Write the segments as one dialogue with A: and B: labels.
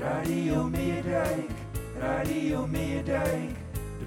A: Radio Meerdijk, Radio Meerdijk, de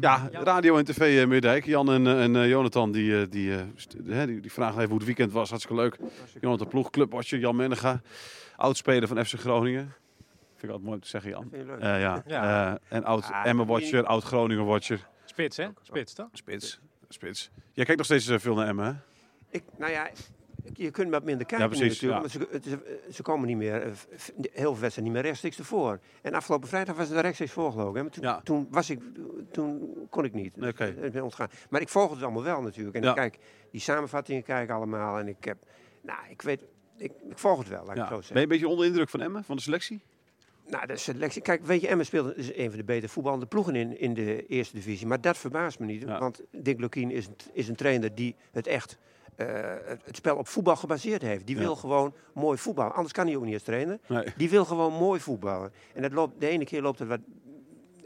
B: Ja, radio en tv eh, Meerdijk. Jan en, eh, en eh, Jonathan die, eh, die, eh, st- hè, die, die vragen even hoe het weekend was. Hartstikke leuk. Jonathan Ploeg, clubwatcher Jan Mennega. Oudspeler van FC Groningen. Vind ik altijd mooi om te zeggen, Jan. Eh, ja.
C: Ja.
B: Eh, en oud Emmen-watcher, oud Groningen-watcher.
C: Spits, hè? Spits, toch?
B: Spits. Spits. Jij kijkt nog steeds eh, veel naar Emmen, hè?
D: Ik, nou ja, je kunt maar minder kijken
B: Ja, precies,
D: nu natuurlijk. want Ze, ze- ze komen niet meer, eh, f- heel veel wedstrijden niet meer rechtstreeks ervoor. En afgelopen vrijdag was het er rechtstreeks voor geloof ik, hè. Maar toen,
B: Ja.
D: toen, was ik, toen kon ik niet.
B: Nee, oké.
D: Dus ik ben ontgaan. Maar ik volg het allemaal wel natuurlijk. En
B: Ja.
D: ik kijk, die samenvattingen kijk ik allemaal. En ik heb, nou ik weet, ik, ik volg het wel, laat ik
B: Ja.
D: het zo
B: Ben
D: zeggen.
B: je een beetje onder de indruk van Emmen, van de selectie?
D: Nou, de selectie. Kijk, weet je, Emmen speelt is een van de betere voetballende ploegen in, in de eerste divisie. Maar dat verbaast me niet.
B: Ja.
D: Want Dick Lukien is, een- is een trainer die het echt. eh, het- het spel op voetbal gebaseerd heeft. Die
B: Ja.
D: wil gewoon mooi voetballen. Anders kan hij ook niet als trainer.
B: Nee.
D: Die wil gewoon mooi voetballen. En dat loopt, de ene keer loopt het wat,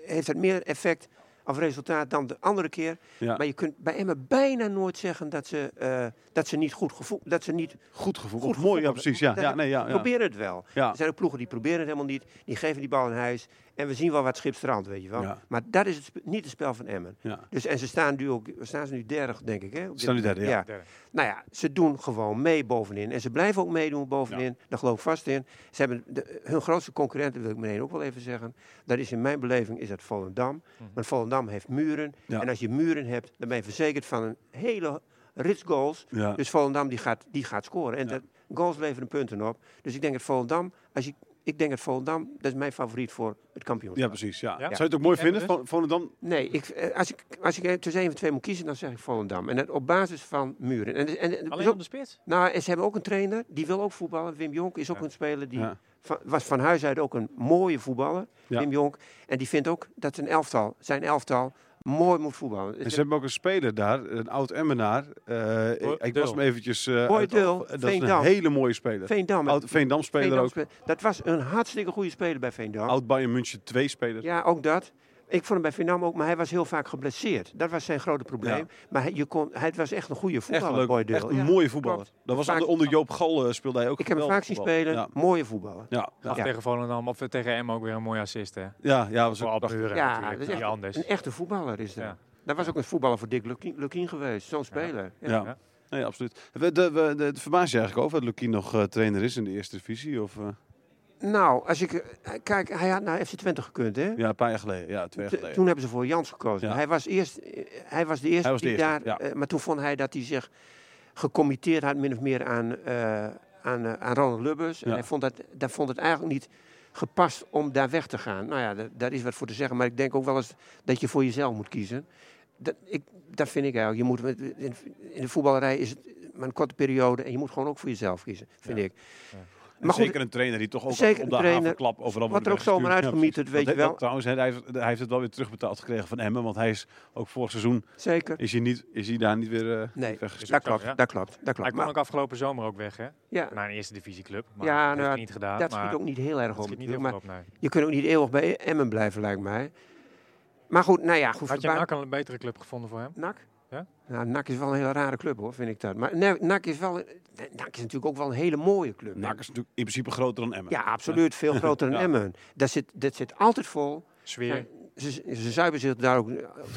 D: heeft het meer effect of resultaat dan de andere keer.
B: Ja.
D: Maar je kunt bij Emmen bijna nooit zeggen dat ze, eh, dat ze niet goed gevoel, dat ze niet
B: Goed gevoel.
D: Goed
B: Of mooi, ja
D: gevoel.
B: precies. Ja,
D: Dat-
B: ja, nee, ja, ja.
D: proberen het wel.
B: Ja.
D: Er zijn ook ploegen die proberen het helemaal niet. Die geven die bal in huis. En we zien wel wat schip strandt, weet je wel.
B: Ja.
D: Maar dat is het, sp- niet het spel van Emmen.
B: Ja.
D: Dus, en ze staan nu ook, staan ze nu derde, denk ik. Hè? op dit
B: staan nu
D: moment.
B: derde, ja.
C: Derde.
D: Nou ja, ze doen gewoon mee bovenin. En ze blijven ook meedoen bovenin. Daar geloof ik vast in. Ze hebben de- hun grootste concurrent, wil ik meteen ook wel even zeggen. Dat is in mijn beleving is dat Volendam. Want Volendam heeft muren.
B: Mhm. Ja.
D: En als je muren hebt, dan ben je verzekerd van een hele rits goals.
B: Ja.
D: Dus Volendam die gaat, die gaat scoren. En dat, goals leveren punten op. Dus ik denk dat Volendam, als ik, ik denk dat Volendam, dat is mijn favoriet voor het kampioenschap.
B: Ja, precies. Ja.
C: Ja.
B: Zou je het ook mooi
C: Emmen
B: vinden? Van, Volendam?
D: Nee, ik, eh, als, ik, als ik eh, tussen één van twee moet kiezen, dan zeg ik Volendam. En dat op basis van muren. En, en, en-
C: Alleen op de spits?
D: nou, en ze hebben ook een trainer, die wil ook voetballen. Wim Jonk is ook een speler die
B: Ja.
D: van, was van huis uit ook een mooie voetballer.
B: Ja.
D: Wim Jonk. En die vindt ook dat zijn elftal, zijn elftal mooi moet voetballen. Dus
B: En ze hebben ook een speler daar, een oud Emmenaar. Eh, ik-
C: Boy
B: ik
C: Dul.
B: was hem eventjes... eh,
D: Boy
B: uit-
D: Dul,
B: Dat is een
D: Veendam.
B: hele mooie speler.
D: Veendam.
B: Oud Veendam-speler
D: Veendam
B: ook.
D: spe- Dat was een hartstikke goede speler bij Veendam.
B: Oud Bayern München 2 speler.
D: Ja, ook dat. Ik vond hem bij Veendam ook, maar hij was heel vaak geblesseerd. Dat was zijn grote probleem. Maar hij, je kon, hij was echt een goede
B: echt
D: voetballer,
B: een
D: Boy
B: leuk,
D: Dul.
B: echt een
D: Ja,
B: mooie voetballer.
D: klopt.
B: Dat was
D: Vaak-
B: onder, onder Joop Gal eh, speelde hij ook.
D: Ik heb hem
B: geweldig
D: vaak zien
B: voetbal.
D: spelen,
B: Ja,
D: mooie voetballer.
B: ja, ja,
C: Gaf
B: ja.
D: Ja.
C: tegen Volendam of tegen Emmen ook weer een mooie assist, hè?
B: ja, was
C: Voor
B: ook prachtig.
C: Alpmuren
D: Ja,
C: natuurlijk,
D: dat is
C: niet
D: echt
C: anders.
D: Een echte voetballer is dat.
C: Ja.
D: Dat was ook een voetballer voor Dick Lukien, Lukien geweest, zo'n speler. Ja.
B: Ja. Nee, absoluut. We, de, we, de, het verbaast je eigenlijk over dat Lukien nog eh, trainer is in de eerste divisie? Of, eh,
D: Nou, als ik eh, kijk, hij had naar FC Twente gekund, hè?
B: ja, een paar jaar geleden. Ja, twee jaar
D: T-
B: geleden.
D: Toen hebben ze voor Jans gekozen.
B: eh, Ja.
D: Hij, was eerst, eh, hij was de eerste
B: Hij was de
D: die
B: eerste,
D: daar...
B: ja.
D: eh, maar toen vond hij dat hij zich gecommitteerd had min of meer aan, eh, aan, eh, aan Ronald Lubbers. En
B: Ja.
D: hij vond, dat, dat vond het eigenlijk niet gepast om daar weg te gaan. Nou ja, da- daar is wat voor te zeggen. Maar ik denk ook wel eens dat je voor jezelf moet kiezen. Dat, ik, dat vind ik eigenlijk. Je moet, met- in, in de voetballerij is het maar een korte periode. En je moet gewoon ook voor jezelf kiezen, vind ik.
B: En
D: Maar goed,
B: zeker een trainer die toch ook
D: zeker
B: op
D: een
B: de
D: trainer.
B: havenklap overal
D: Wat
B: wordt
D: er ook
B: weggestuurd.
D: zomaar uitgemieterd,
B: precies.
D: weet
B: Dat-
D: je wel.
B: dat trouwens, hè, hij heeft, hij heeft het wel weer terugbetaald gekregen van Emmen. Want hij is ook vorig seizoen
D: Zeker.
B: is hij, niet, is hij daar niet weer eh
D: Nee,
B: weggestuurd.
D: dat
C: zo,
D: klopt,
C: ja.
D: dat klopt, dat
C: Hij
D: klopt.
C: kon
D: Maar-
C: ook afgelopen zomer ook weg, hè?
D: ja,
C: Naar een eerste divisieclub. Maar
D: Ja,
C: dat
D: nou
C: heeft
D: ja,
C: hij niet gedaan.
D: dat
C: maar
D: schiet ook niet heel erg
C: dat
D: op.
C: schiet niet
D: natuurlijk,
C: heel
D: maar-
C: veel op, nee.
D: Je kunt ook niet eeuwig bij Emmen blijven, lijkt mij. Maar goed, nou ja, goed.
C: Had je
D: verba-
C: NAC al een betere club gevonden voor hem?
D: NAC?
C: Ja?
D: Nou, NAC is wel een hele rare club, hoor, vind ik dat. Maar nee, NAC is, wel, NAC is natuurlijk ook wel een hele mooie club. hè.
B: NAC is natuurlijk in principe groter dan Emmen.
D: Ja, absoluut. Veel groter dan
B: Ja.
D: Emmen. Dat zit, dat zit altijd vol.
C: Sfeer,
D: Ze, ze zuipen zich daar ook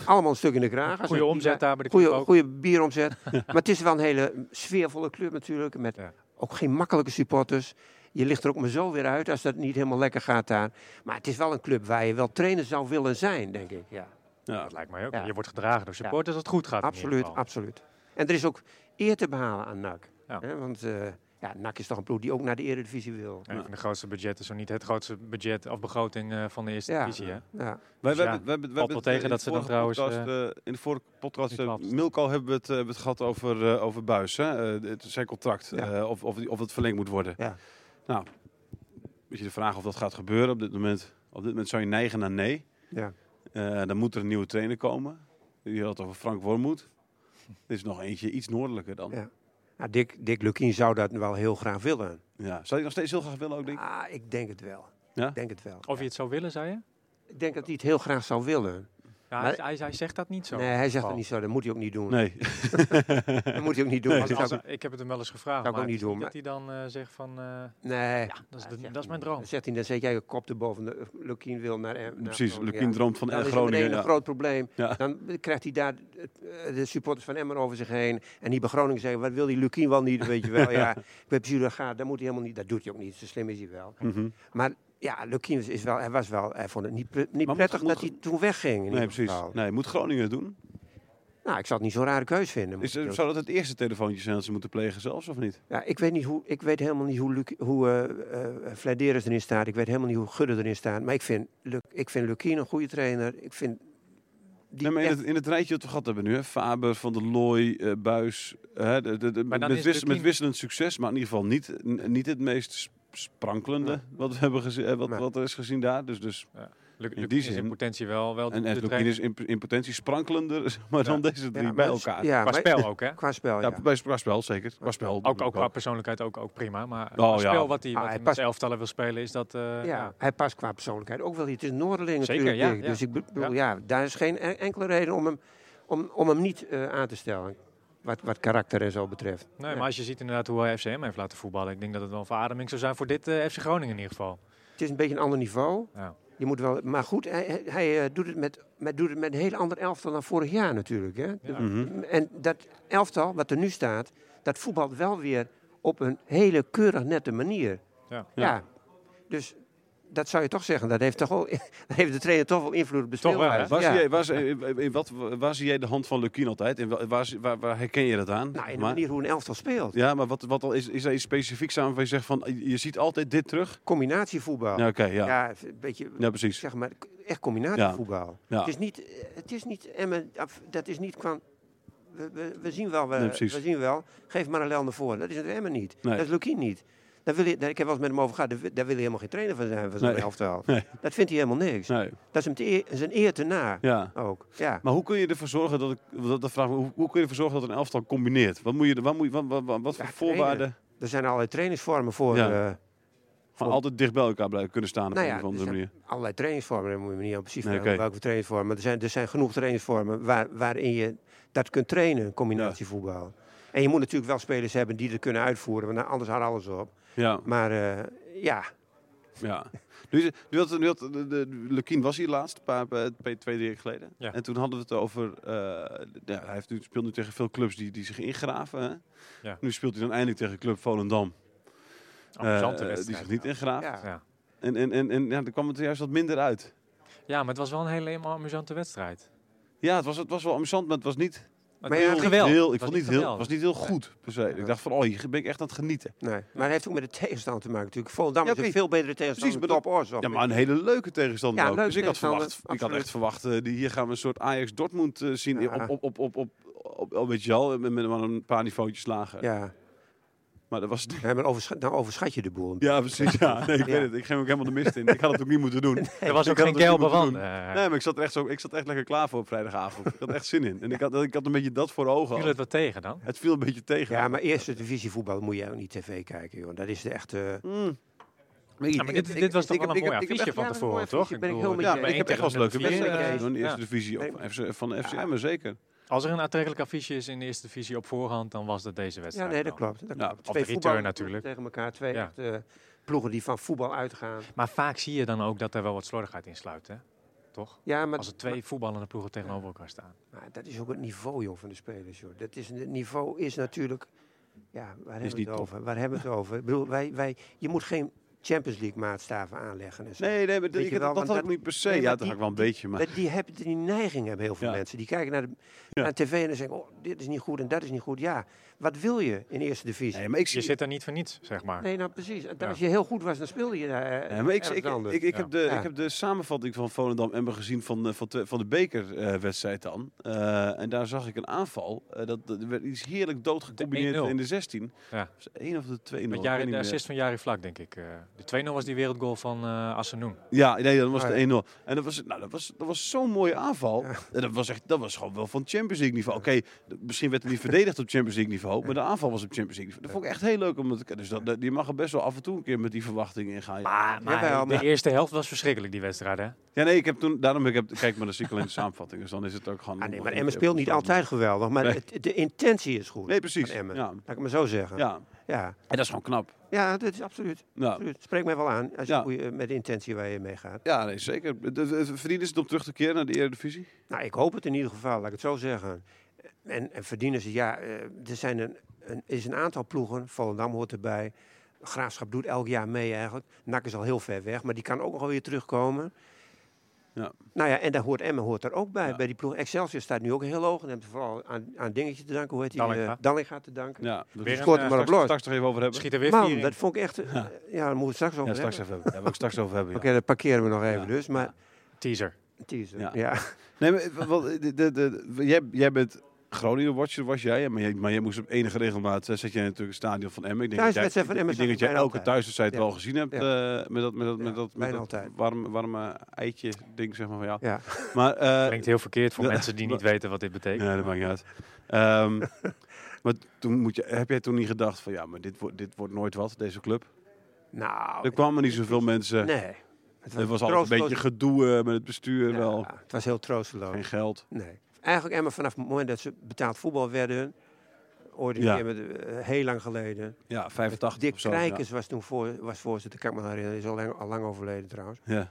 D: allemaal een stuk in de kraag. Als
C: goede
D: een-
C: omzet daar bij de club
D: Goede,
C: ook.
D: goede bieromzet. maar het is wel een hele sfeervolle club natuurlijk. Met
C: Ja.
D: ook geen makkelijke supporters. Je ligt er ook maar zo weer uit als dat niet helemaal lekker gaat daar. Maar het is wel een club waar je wel trainer zou willen zijn, denk ik. Ja.
B: Ja.
C: Dat lijkt mij ook.
D: Ja.
C: Je wordt gedragen door supporters als het goed gaat. in ieder
D: Absoluut,
C: geval.
D: absoluut. En er is ook eer te behalen aan NAC.
C: Ja.
D: Hè, want eh, ja, NAC is toch een ploeg die ook naar de Eredivisie wil.
C: Een van de grootste budgetten, zo niet het grootste budget of begroting eh, van de eerste
D: Ja.
C: divisie. Hè?
D: Ja.
B: Wij,
C: Dus ja,
B: we hebben, we hebben, we
C: valt
B: hebben
C: wel
B: het,
C: tegen
B: eh, in
C: dat ze
B: de
C: dan
B: vorige
C: trouwens,
B: podcast, eh, in de vorige podcast
C: niet
B: eh,
C: klapt.
B: Milko hebben we het, eh, hebben we het gehad over, eh, over Buis. Hè? Eh, het, zijn contract.
D: Ja.
B: eh, of, of, die- of het verlengd moet worden.
D: Ja.
B: Nou, weet je de vraag of dat gaat gebeuren op dit moment. Op dit moment zou je neigen naar nee.
D: Ja.
B: Eh, dan moet er een nieuwe trainer komen. Je had het over Frank Wormoed. Er is nog eentje iets noordelijker dan. Ja.
D: Ja. Nou, Dick, Dick Lukien zou dat wel heel graag willen.
B: Zou je nog steeds heel graag willen ook, denk ik?
D: Ah, ik denk het wel.
B: Ja?
D: Ik denk het wel.
C: Of je het zou willen, zei je?
D: Ik denk dat hij het heel graag zou willen.
C: Ja,
D: Maar-
C: hij, hij, hij zegt dat niet zo. Oh.
D: nee, hij zegt
C: Paul.
D: het niet zo. Dat moet hij ook niet doen.
B: Nee.
D: Dat moet hij ook niet doen.
C: Als-
D: Dat
C: als-
D: zou ik-
C: ik heb het hem wel eens gevraagd,
D: zou ik
C: maar
D: ook
C: het is
D: niet
C: niet
D: doen,
C: dat hij dan eh, zegt van, eh,
D: nee.
C: dat, is
D: Ja,
C: de- dat
D: zegt
C: is
D: hij.
C: mijn droom.
D: Dan zegt hij, dan zet jij je kop erboven. De- Lukien wil naar... naar
B: Precies,
D: Groningen.
B: Lukien droomt van
D: Dan
B: eh,
D: is Nou, er meteen
B: Groningen.
D: een
B: ja.
D: groot probleem.
B: Ja.
D: Dan krijgt hij daar eh, de supporters van Emmen over zich heen. En die bij Groningen zeggen, wat wil die Lukien wel niet? Weet je wel, ja, ik ben precies hoe dat gaat. Dat moet hij helemaal niet. Dat doet hij ook niet. Zo slim is hij wel.
B: Mhm.
D: Maar ja, Lukien is, is wel, hij was wel, hij vond het niet, pre- niet
B: moet-
D: prettig
B: moet
D: dat
B: ge-
D: hij toen wegging. in
B: Nee,
D: ieder
B: precies.
D: geval.
B: Nee, moet Groningen het doen?
D: Nou, ik zou het niet zo'n rare keus vinden. moet
B: Is,
D: ik
B: eh,
D: heel-
B: zou dat het eerste telefoontje zijn dat ze moeten plegen zelfs, of niet?
D: Ja, ik, weet niet hoe, ik weet helemaal niet hoe, Luc, hoe eh, eh, Vlijderis erin staat. Ik weet helemaal niet hoe Gudde erin staat. Maar ik vind, Luc, ik vind Lukien een goede trainer. Ik vind die
B: Nee, maar in,
D: echt-
B: het, in het rijtje dat we gehad hebben nu, hè? Faber, Van der Looy, eh, Buis. Hè? De, de, de-
C: Maar
B: met,
C: dan is
B: wis-
C: het
B: met
C: niet-
B: wisselend succes, maar in ieder geval niet, n- niet het meest sp- sprankelende wat, we hebben gezien, eh, wat,
D: Nee.
B: wat er is gezien daar. Dus, dus,
C: Luk,
B: die
C: Luk is
B: zin-
C: in potentie wel, wel
B: en en
C: de
B: Lukien
C: trainer.
B: is in, in potentie sprankelender zeg maar,
C: Ja.
B: dan deze drie
D: Ja,
B: bij
D: maar het is-
B: elkaar.
D: Ja,
C: Qua
D: maar-
C: spel ook, hè?
D: Qua spel, ja.
B: Ja, bij qua spel zeker. Qua spel
C: Ook,
B: natuurlijk
C: ook qua
B: wel.
C: persoonlijkheid ook, ook prima. Maar het
B: Oh, ja.
C: spel wat hij,
D: Ah,
C: wat
D: hij
C: hij met
D: past-
C: zijn elftallen wil spelen, is dat... eh,
D: Ja,
C: ja.
D: hij past qua persoonlijkheid ook wel hier. Het is een Noorderling
C: Zeker,
D: natuurlijk,
C: ja,
D: Dick.
C: ja.
D: Dus ik bedoel, ja. daar is geen en- enkele reden om hem, om, om hem niet eh, aan te stellen. Wat, wat karakter en zo betreft.
C: Nee,
D: Ja.
C: maar als je ziet inderdaad hoe eh, hij FCM heeft laten voetballen, ik denk dat het wel een verademing zou zijn voor dit eh, FC Groningen in ieder geval.
D: Het is een beetje een ander niveau.
C: Ja.
D: Je moet wel, maar goed, hij, hij- hij eh, doet, het met, met, doet het met een heel ander elftal dan vorig jaar natuurlijk. Hè? Mm-hmm.
B: Mhm.
D: En dat elftal wat er nu staat, dat voetbalt wel weer op een hele keurig nette manier.
C: Ja.
D: Ja. Dus dat zou je toch zeggen. Dat heeft, toch wel, dat heeft de trainer toch wel invloed op de
C: Toch wel, hè?
D: speelwijze.
B: Waar,
D: Ja.
B: zie jij, waar, zie- in- in eh, wat, waar zie jij de hand van Lukien altijd? En waar, waar, waar, waar herken je dat aan?
D: Nou, in de
B: Maar-
D: manier hoe een elftal speelt.
B: Ja, maar wat, wat al is, is er iets specifieks aan waar je zegt van je je ziet altijd dit terug?
D: Combinatievoetbal.
B: Ja,
D: Ja,
B: oké, ja. ja.
D: een beetje,
B: precies.
D: zeg maar, echt combinatievoetbal.
B: Ja.
D: Het is niet, eh, het is niet, Emmen, af- dat is niet kwam. We, we, we zien wel, we,
B: Nee, precies.
D: we zien wel. Geef maar een lel naar voren. Dat is het Emmen niet.
B: Nee.
D: Dat is Lukien niet. Daar wil je, daar, ik heb wel eens met hem over gehad. Daar, wi- daar wil hij helemaal geen trainer van zijn van zo'n
B: Nee.
D: elftal.
B: Nee.
D: Dat vindt hij helemaal niks.
B: Nee,
D: Dat is hem te eer- zijn eer te na.
B: ja.
D: Ook. Ja.
B: Maar hoe kun je ervoor zorgen dat ik dat, dat vraag, me, hoe, hoe kun je ervoor zorgen dat een elftal combineert? Wat moet je, er- wat, moet je, wat, wat, wat, wat voor
D: Ja,
B: voorwaarden
D: Er zijn allerlei trainingsvormen voor.
B: Ja.
D: eh,
B: van altijd dicht bij elkaar blijven kunnen staan op
D: Nou
B: een
D: ja,
B: of andere
D: er zijn
B: manier?
D: allerlei trainingsvormen. Daar moet je me niet aan precies
B: Nee,
D: vragen
B: oké.
D: welke trainingsvormen. Er zijn, er zijn genoeg trainingsvormen waar, waarin je dat kunt trainen, combinatievoetbal. En je moet natuurlijk wel spelers hebben die dat kunnen uitvoeren, want nou, anders houdt alles op.
B: Ja,
D: Maar eh, ja,
B: ja. Nu, is- nu had, nu had de, de, Lukien was hier laatst, een paar, eh, twee, twee, drie jaar geleden.
C: Ja.
B: En toen hadden we het over, eh, ja, hij heeft nu, speelt nu tegen veel clubs die, die zich ingraven. Hè?
C: Ja.
B: Nu speelt hij dan eindelijk tegen Club Volendam,
C: Amusante
B: eh, die
C: wedstrijd.
B: zich niet ingraaft.
D: ja.
C: Ja.
B: En, en, en, en ja, er kwam het juist wat minder uit.
C: ja, maar het was wel een hele amusante wedstrijd.
B: Ja, het was, het was wel amusant, maar het was niet
C: Maar
D: ja, het
C: geweldig.
B: heel, ik
C: Het was
B: vond
C: niet
B: niet heel,
C: geweldig.
B: was niet heel goed per se. Ik dacht van, oh, hier ben ik echt aan het genieten.
D: Nee. maar dat heeft ook met de tegenstander te maken natuurlijk. Volendam
B: Ja,
D: is een
B: oké.
D: veel betere tegenstander
B: Precies,
D: dan
B: maar
D: Top Ors.
B: Ja, maar een hele leuke tegenstander
D: Ja,
B: ook.
D: leuke
B: dus ik had,
D: tegenstander,
B: verwacht, ik had echt
D: absoluut.
B: verwacht, eh, die, hier gaan we een soort Ajax Dortmund eh, zien.
D: Ja.
B: Op, op, op, op, op, op, op- weet je wel, met, met maar een paar niveautjes lager.
D: Ja,
B: Maar dat was het niet.
D: nee, maar oversch- dan overschat je de boel.
B: Ja, precies. Ja, nee, ik
D: Ja.
B: weet het. Ik ging ook helemaal de mist in. Ik had het ook niet moeten doen.
C: Er was
B: Ik
C: ook geen
B: had het
C: Kel
B: ook niet moeten
C: Baran.
B: doen.
C: eh,
B: Nee, maar ik zat, er echt zo, ik zat er echt lekker klaar voor op vrijdagavond. Ik had er echt zin in. En ik, had, ik had een beetje dat voor ogen.
C: Viel
B: al.
C: het wat tegen dan?
B: Het viel een beetje tegen.
D: Ja, maar eerste divisievoetbal moet je ook niet tv kijken, joh. Dat is de echte...
B: Hmm.
C: Ja, maar dit, dit was toch wel een mooi affiche van
D: ja, dat is een mooi
C: tevoren, toch?
D: affiche, ben ik heel met
B: Ja,
D: je
B: maar ik heb echt wel eens leuke
D: vier,
B: wedstrijden
D: eh,
B: gezien hoor, in de
C: ja.
B: eerste divisie of van FC van FCM, zeker.
C: Als er een aantrekkelijk affiche is in de eerste divisie op voorhand, dan was dat deze
D: Ja,
C: wedstrijd.
D: nee, dat
C: wel.
D: klopt. Dat
B: Ja,
D: klopt.
C: of de return
D: voetballers
C: natuurlijk.
D: tegen elkaar. Twee
C: Ja.
D: echt, eh, ploegen die van voetbal uitgaan.
C: Maar vaak zie je dan ook dat er wel wat slordigheid in sluipt, hè? Toch?
D: Ja, maar,
C: Als er twee voetballende ploegen tegenover elkaar staan.
D: maar, maar dat is ook het niveau joh, van de spelers. Joh. Dat is, het niveau is natuurlijk... Ja, waar hebben we
B: niet
D: het
B: top.
D: over? Waar hebben we het over? Ik bedoel, wij, wij, je moet geen Champions League maatstaven aanleggen. En zo.
B: Nee, nee, maar
D: Weet
B: ik-
D: je wel,
B: dat, dat
D: want
B: had ik
D: dat-
B: niet per se.
D: nee,
B: ja,
D: maar
B: dat
D: die-
B: had ik wel een beetje, maar...
D: Dat die, hebben, die neiging hebben heel veel
B: Ja.
D: mensen. Die kijken naar de
B: Ja.
D: naar tv en dan zeggen, oh, dit is niet goed en dat is niet goed. Ja, wat wil je in eerste divisie?
B: Nee, maar ik
C: Je
B: zie...
C: zit daar niet voor niets, zeg maar.
D: Nee, nou precies. En
C: Ja.
D: Als je heel goed was, dan speelde je daar. eh,
B: Nee, maar ik, ik, ik, ik,
C: Ja.
B: heb de,
D: Ja.
B: ik heb de samenvatting van Volendam Emmen gezien van, eh, van, de, van de bekerwedstrijd dan. Eh, en daar zag ik een aanval. Eh, dat, dat werd iets heerlijk doodgecombineerd
C: 1-0.
B: in de 16.
C: Ja.
B: Was het één of de 2
C: Met Jari, de assist van Jari Vlak, denk ik. Eh, De 2-0 was die wereldgoal van eh Assenoen.
B: Ja, nee, dat was
D: Ah,
B: de
D: ja.
B: 1-0. En dat was, nou, dat was, dat was zo'n mooie aanval. En dat, was echt, dat was gewoon wel van Champions League niveau. Oké, d- misschien werd er niet verdedigd op Champions League niveau, maar de aanval was op Champions League niveau. Dat vond ik echt heel leuk. Om het, dus dat, dat- je mag er best wel af en toe een keer met die verwachtingen in gaan.
D: Maar, maar,
C: De eerste helft was verschrikkelijk, die wedstrijd, hè?
B: Ja, nee, ik heb toen, daarom ik heb, kijk maar de cykel in de samenvatting. Dus dan is het ook gewoon...
D: Ah, nee, maar Emmen speelt niet altijd geweldig, maar
B: Nee.
D: het- de intentie is goed.
B: Nee, precies.
D: Van Emmen.
B: Ja.
D: Laat ik het maar zo zeggen.
B: Ja, en
D: ja.
B: dat is gewoon knap.
D: Ja, dat is absoluut.
B: Nou,
D: absoluut. Spreek mij wel aan als je
B: Ja.
D: goeie- met de intentie waar je mee gaat.
B: ja, nee, zeker. De- de- Verdienen ze het om terug te keren naar de Eredivisie?
D: Nou, ik hoop het in ieder geval, laat ik het zo zeggen. En, en verdienen ze, ja, eh, er zijn een, een, is een aantal ploegen. Volendam hoort erbij. Graafschap doet elk jaar mee eigenlijk. NAC is al heel ver weg, maar die kan ook nog wel weer terugkomen.
B: Ja.
D: Nou ja, en daar hoort Emmen hoort er ook bij,
B: Ja.
D: bij die ploeg. Excelsior staat nu ook heel hoog. En heeft vooral aan, aan dingetje te danken, hoe heet die?
C: Dallinga.
D: Eh, Dallinga te danken.
B: Ja, dus
C: Weer
B: we
C: een,
D: scoort
C: eh,
D: hem maar op
C: straks-
D: los.
B: straks nog even over hebben.
C: Schiet er weer vier
D: Man,
C: in.
D: dat vond ik echt... eh, Ja, daar moeten we straks over
B: Ja,
D: hebben.
B: straks even hebben. Daar wil ik straks over hebben, ja.
D: Oké, dat parkeren we nog even
B: Ja.
D: dus. Maar
C: Teaser.
D: teaser,
B: Ja.
D: ja.
B: Nee, maar eh, wat, de, de, de, jij, jij bent Groningen-watcher, was jij. Maar jij, maar jij moest op enige regelmaat... eh, zet jij natuurlijk het stadion van Emmen. Ik denk dat jij-
D: Thuiswedstrijd van Emmen
B: Ik denk dat
D: zag
B: jij
D: ik bijna
B: elke
D: altijd.
B: thuiswedstrijd
D: Ja.
B: wel gezien hebt. eh, met dat, met dat, met
D: Ja,
B: dat, met
D: bijna
B: dat
D: altijd.
B: warme, warme eitje-ding, zeg maar, van jou.
D: Ja.
B: Maar, eh,
C: Klinkt heel verkeerd voor
B: dat-
C: mensen die niet weten wat dit betekent.
B: Ja, dat maakt niet uit. Ehm, maar toen moet je, heb jij toen niet gedacht van ja, maar dit, wordt dit wordt nooit wat, deze club?
D: Nou,
B: Er kwamen niet zoveel mensen.
D: Oh, nee. Het
B: eh, Het was altijd een beetje
D: troosteloos.
B: gedoe eh, met het bestuur
D: Ja,
B: wel.
D: Het was heel troosteloos.
B: Geen geld.
D: Nee. Eigenlijk Emma vanaf het moment dat ze betaald voetbal werden, ooit een
B: Ja.
D: keer met, eh, heel lang geleden.
B: Ja, 85
D: Dick
B: of zo.
D: Krijkers was toen voor, was voorzitter, kan ik me nog herinneren, is al lang, al lang overleden trouwens.
B: Ja. Ja.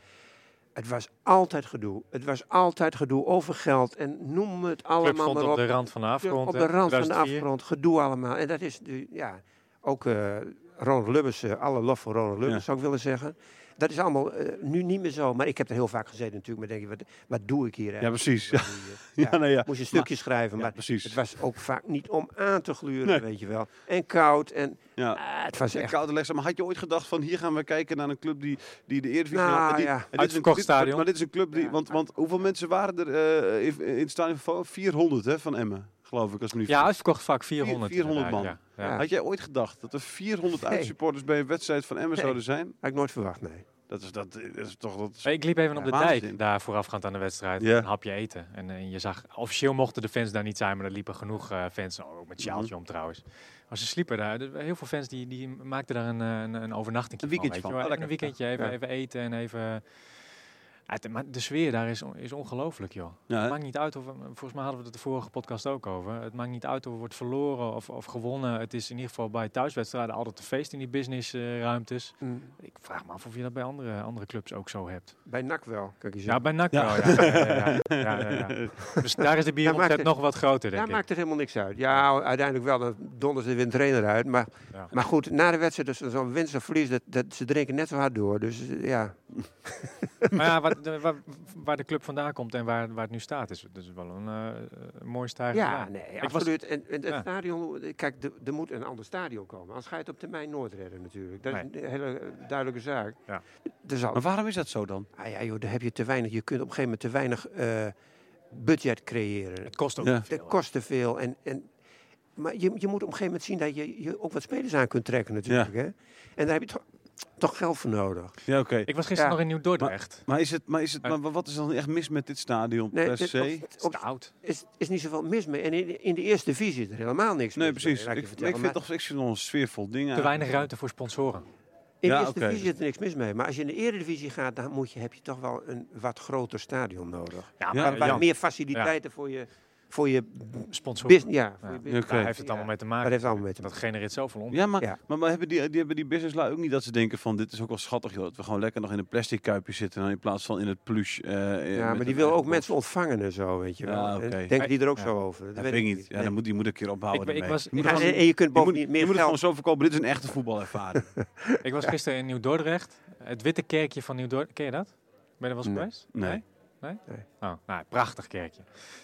D: Het was altijd gedoe. Het was altijd gedoe over geld en noem het
C: club
D: allemaal
C: stond
D: maar
C: op
D: op.
C: de rand van de afgrond.
D: op
C: hè,
D: de rand van de
C: 2004.
D: afgrond, gedoe allemaal. En dat is nu, ja, ook eh, Ronald Lubbers, eh, alle lof voor Ronald Lubbers
B: Ja.
D: zou ik willen zeggen. Dat is allemaal eh, nu niet meer zo. Maar ik heb er heel vaak gezeten natuurlijk. Maar denk je, wat, wat doe ik
B: ja,
D: hier eigenlijk?
B: precies. Ja,
D: Ja.
B: nee, ja.
D: Moest je stukjes schrijven,
B: Ja,
D: maar
B: precies.
D: het was ook vaak niet om aan te gluren,
B: Nee.
D: weet je wel. En koud en
B: Ja.
D: ah, het was
B: Ja,
D: echt...
B: koude les. Maar had je ooit gedacht van hier gaan we kijken naar een club die, die de Eredivisie
D: Nou,
B: had? En die-
D: ja.
B: en dit is een-
C: Uitverkocht
B: dit-
C: stadion.
B: Maar dit is een club die... Want, want hoeveel mensen waren er eh, in, in het stadion? van- 400 hè, van Emmen, geloof ik. Als ik me niet
C: Ja, uitverkocht vaak 400.
B: 400 man.
C: inderdaad, Ja.
D: Ja.
C: Ja.
B: Had jij ooit gedacht dat er 400
D: Nee.
B: uitsupporters bij een wedstrijd van Emmen
D: Nee.
B: zouden zijn?
D: Had ik nooit verwacht, nee.
B: Dat is, dat, dat is toch... Dat is-
C: Ik liep even op de
B: Ja, waanzin.
C: dijk daar voorafgaand aan de wedstrijd.
B: Ja.
C: Een hapje eten. En, eh, je zag, officieel mochten de fans daar niet zijn, maar er liepen genoeg eh, fans. Oh, ook met
B: Mhm.
C: sjaaltje om trouwens. Maar ze sliepen daar. Er- Heel veel fans die, die maakten daar een, eh, een, een overnachting
B: Een weekendje van. Oh,
C: een
B: lekker.
C: weekendje even,
D: Ja.
C: even eten en even... Ja, het- maar de sfeer daar is, on- is ongelooflijk, joh.
B: Ja, hè?
C: Het maakt niet uit of... eh, Volgens mij hadden we het de vorige podcast ook over. Het maakt niet uit of er wordt verloren of, of gewonnen. Het is in ieder geval bij thuiswedstrijden altijd een feest in die businessruimtes.
D: Mm,
C: Ik vraag me af of je dat bij andere, andere clubs ook zo hebt.
D: Bij NAC wel, kan ik je
C: Ja,
D: zeggen.
C: bij NAC wel, ja. Ja, ja, ja, ja, ja, ja. Dus daar is de
D: maakt
C: bieromzet
D: het-
C: nog wat groter,
D: Daar
C: denk ik.
D: maakt het helemaal niks uit. Ja, uiteindelijk wel, dan donders er weer een trainer uit. Maar,
C: Ja.
D: maar goed, na de wedstrijd, dus zo'n winst of verlies, dat, dat, ze drinken net zo hard door. Dus eh, ja,
C: Maar ja, wat, de- waar, waar de club vandaan komt en waar, waar het nu staat, is dus wel een eh, eh, mooi stijgende
D: ja
C: lijn.
D: nee,
C: Ik was-
D: absoluut. En, en het
C: Ja.
D: stadion, kijk, er- er moet een ander stadion komen. Anders ga je het op termijn nooit redden natuurlijk. Dat
C: Nee.
D: is een hele eh, duidelijke zaak.
C: Ja.
D: Er zal
B: Maar waarom is dat zo dan?
D: Ah ja, joh, daar heb je te weinig. Je kunt op een gegeven moment te weinig eh, budget creëren.
C: Het kost ook
B: Ja.
C: niet veel,
D: Dat
C: hè.
D: kost te veel. En, en, maar je, je moet op een gegeven moment zien dat je, je ook wat spelers aan kunt trekken natuurlijk. Hè? En daar heb je toch, toch geld voor nodig.
B: Ja, oké.
C: Ik was gisteren
D: Ja.
C: nog in Nieuw-Dordrecht.
B: Maar, is het, maar, is het, maar wat is dan echt mis met dit stadion per
D: dit-
B: se?
D: op-
C: Het
D: op-
C: is te oud.
D: is, is niet zoveel mis mee. En in, in de eerste divisie is er helemaal niks
B: Nee,
D: mis mee,
B: precies. Ik,
D: laat je
B: ik
D: vertellen.
B: vind
D: Maar
B: toch ik vind nog een sfeervol ding
C: Te
B: eigenlijk.
C: weinig ruimte voor sponsoren.
D: In
B: Ja,
D: de eerste
B: oké.
D: divisie zit er niks mis mee. Maar als je in de eredivisie gaat, dan moet je, heb je toch wel een wat groter stadion nodig.
C: Ja,
B: maar
D: waar waar
C: Jan,
D: meer faciliteiten voor je voor je
C: Sponsor.
D: business. Ja,
C: Ja.
D: voor je business.
C: Daar
B: Oké.
C: heeft het
D: Ja.
C: allemaal mee te
D: dat
C: maken.
D: heeft allemaal mee te
C: Dat
D: maken.
C: genereert zoveel om.
B: Ja, maar,
D: Ja.
B: maar, maar hebben die, die, hebben die businesslui ook niet dat ze denken van dit is ook wel schattig joh. Dat we gewoon lekker nog in een plastic kuipje zitten dan in plaats van in het plush. eh, eh,
D: Ja,
B: met
D: maar die
B: een
D: wil
B: eigen
D: ook
B: bos.
D: mensen ontvangen en zo, weet je wel.
B: Ja,
D: En
B: oké.
D: Denken die er ook
C: Ja.
D: zo over? Dat
B: Dat
D: weet
B: weet ik niet. Ja,
D: Nee.
B: dan moet, die moet een keer ophouden
C: Ik, ik
B: ermee.
C: was,
B: je moet,
C: ik,
D: Ja,
C: was,
D: en- en je kunt
B: je moet,
D: bovendien
B: je
D: meer
B: moet het gewoon
D: geld...
B: zo verkopen. Dit is een echte voetbalervaring.
C: ik was gisteren in Nieuw-Dordrecht. Het Witte Kerkje van Nieuw-Dordrecht. Ken je dat? Ben je er wel eens
D: Nee.
C: geweest?
B: Nee.
C: Nee?
D: Nee.
C: Oh, nou, prachtig kerkje.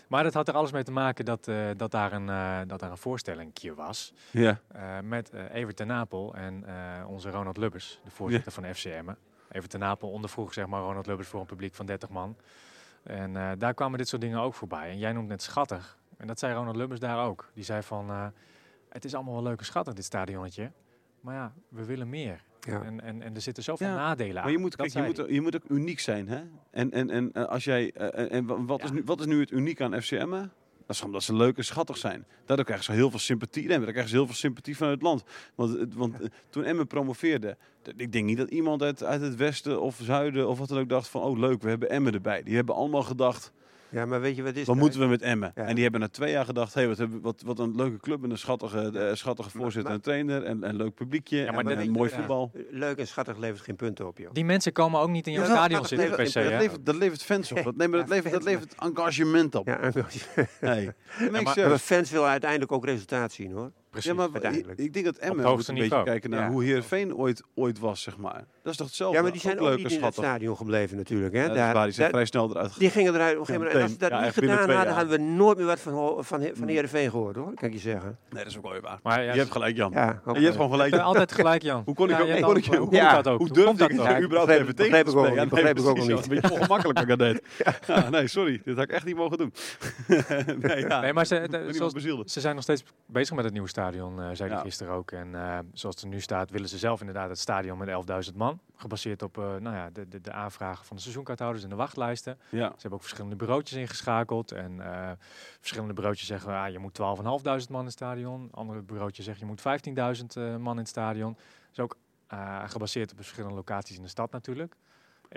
C: Maar dat had er alles mee te maken dat, eh, dat, daar, een, eh dat daar een voorstellingje was.
B: ja.
C: Eh, met eh Evert ten Napel en eh, onze Ronald Lubbers, de voorzitter van FCM. Evert ten Napel ondervroeg zeg maar, Ronald Lubbers voor een publiek van 30 man. En eh, daar kwamen dit soort dingen ook voorbij. En jij noemt net schattig. En dat zei Ronald Lubbers daar ook. Die zei van, eh, het is allemaal wel leuk en schattig dit stadionnetje. Maar ja, we willen meer.
D: Ja.
C: En, en, en er zitten zoveel
B: Ja,
C: nadelen aan.
B: Maar je
C: Dat
B: moet, kijk, je,
C: zei
B: moet,
C: hij.
B: je moet ook uniek zijn. Hè? En, en, en eh, als jij. eh, en- en wa- wat, is
C: Ja.
B: nu, wat is nu het uniek aan FCM? Dat is gewoon dat ze leuk en schattig zijn. Daardoor krijgen ze heel veel sympathie. Nee, maar daar krijgen ze heel veel sympathie van het land. Want, het- want eh, toen Emmen promoveerde, d- ik denk niet dat iemand uit, uit het westen of zuiden of wat dan ook dacht van, oh leuk, we hebben Emmen erbij. Die hebben allemaal gedacht,
D: Ja, maar weet je wat het is?
B: wat
D: Thijs?
B: moeten we met Emmen?
D: Ja.
B: En die hebben na twee jaar gedacht, hey, wat, hebben- wat, wat een leuke club en een schattige, eh, schattige voorzitter
D: maar-
B: en trainer en, en leuk publiekje
C: maar
B: en,
C: dat-
B: en mooi
C: ja.
B: voetbal.
D: Leuk en schattig levert geen punten op, joh.
C: Die mensen komen ook niet in jouw
D: Jawel,
C: stadion
D: dat
C: zitten per
D: levert-
C: se.
B: Dat
C: hè?
B: levert, dat levert fans op. Dat, nee, maar dat,
D: Ja,
B: levert, dat
D: fans,
B: levert engagement op.
D: Ja, en-
B: Nee. Makes
C: maar-
B: sense.
D: maar fans willen uiteindelijk ook resultaat zien, hoor.
C: Precies.
B: Ja, maar ik,
D: uiteindelijk.
B: ik denk dat Emmen moet
C: hoogste
B: een beetje
C: niveau.
B: kijken naar
D: Ja.
B: hoe Heerenveen ooit, ooit was, zeg maar. Dat is toch hetzelfde?
D: Ja, maar die zijn ook,
B: leuk
D: niet
B: en
D: in het
B: schattig.
D: stadion gebleven natuurlijk. Hè?
B: Ja, dat is
D: Daar-
B: waar, die zijn
D: daar-
B: vrij snel eruit gegaan.
D: die gingen eruit op een gegeven moment. En als ze dat
B: Ja,
D: niet
B: echt binnen
D: gedaan
B: twee
D: hadden,
B: jaar.
D: hadden we nooit meer wat van, Ho- van, He- van Heerenveen gehoord, hoor. Kan ik je zeggen.
B: Nee, dat is ook wel weer waar.
C: Maar ja,
B: je hebt gelijk, Jan.
D: Ja, ook
B: En je hebt gewoon gelijk.
C: Ik ben altijd gelijk, Jan.
B: Hoe kon ik
C: Ja,
B: ook-
C: je hebt
B: hoe kon ik-
C: altijd-
B: hoe
C: hoe
D: kon
C: komt
D: ik-
C: dat ook?
B: Hoe
C: Hoe
B: durfde
C: komt
B: ik
C: dat
B: het
C: ook?
B: nou
D: Ja,
B: überhaupt
D: begreep-
B: even tegen
D: begreep
B: te
D: ik ook
B: spreken?
D: niet,
B: Ja, nee,
D: begreep ik ook
B: precies,
D: niet.
B: Jan. Een beetje ongemakkelijk dat ik dat deed. Ja, nee, sorry. Dit had ik echt niet mogen doen. nee, ja.
C: Nee, maar ze,
B: Ik
C: de-
B: ben iemand
C: zoals-
B: bezielde.
C: ze zijn nog steeds bezig met het nieuwe stadion, eh, zei hij
B: Ja.
C: gisteren ook. En eh, zoals het er nu staat, willen ze zelf inderdaad het stadion met 11.000 man. Gebaseerd op eh, nou ja, de, de, de aanvragen van de seizoenkaarthouders en de wachtlijsten.
B: Ja.
C: Ze hebben ook verschillende bureautjes ingeschakeld. En eh, verschillende bureautjes zeggen, ah, je moet 12.500 man in het stadion. Andere bureautjes zeggen, je moet 15.000 eh, man in het stadion. Dat is ook eh, gebaseerd op verschillende locaties in de stad natuurlijk.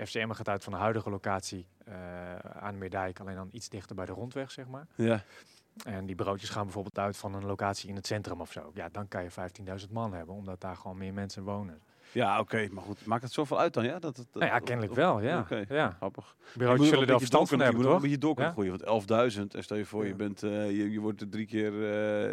C: FCM gaat uit van de huidige locatie eh, aan de Meerdijk, alleen dan iets dichter bij de rondweg, zeg maar.
B: Ja.
C: En die broodjes gaan bijvoorbeeld uit van een locatie in het centrum of zo. Ja, dan kan je 15.000 man hebben, omdat daar gewoon meer mensen wonen.
B: Ja, oké. maar goed, maakt het zoveel uit dan? Ja, dat, dat,
C: Nou ja, kennelijk wel, ja.
B: Oké.
C: ja.
B: Grappig. Je
C: Bureautjes
B: moet
C: zullen
B: wel
C: er
B: een beetje door
C: verstand van
B: kunnen-
C: hebben,
B: Je moet wel
C: toch?
B: een beetje door kunnen
C: Ja.
B: groeien. Want 11.000, en stel je voor, je,
D: Ja.
B: bent, eh, je, je wordt er drie keer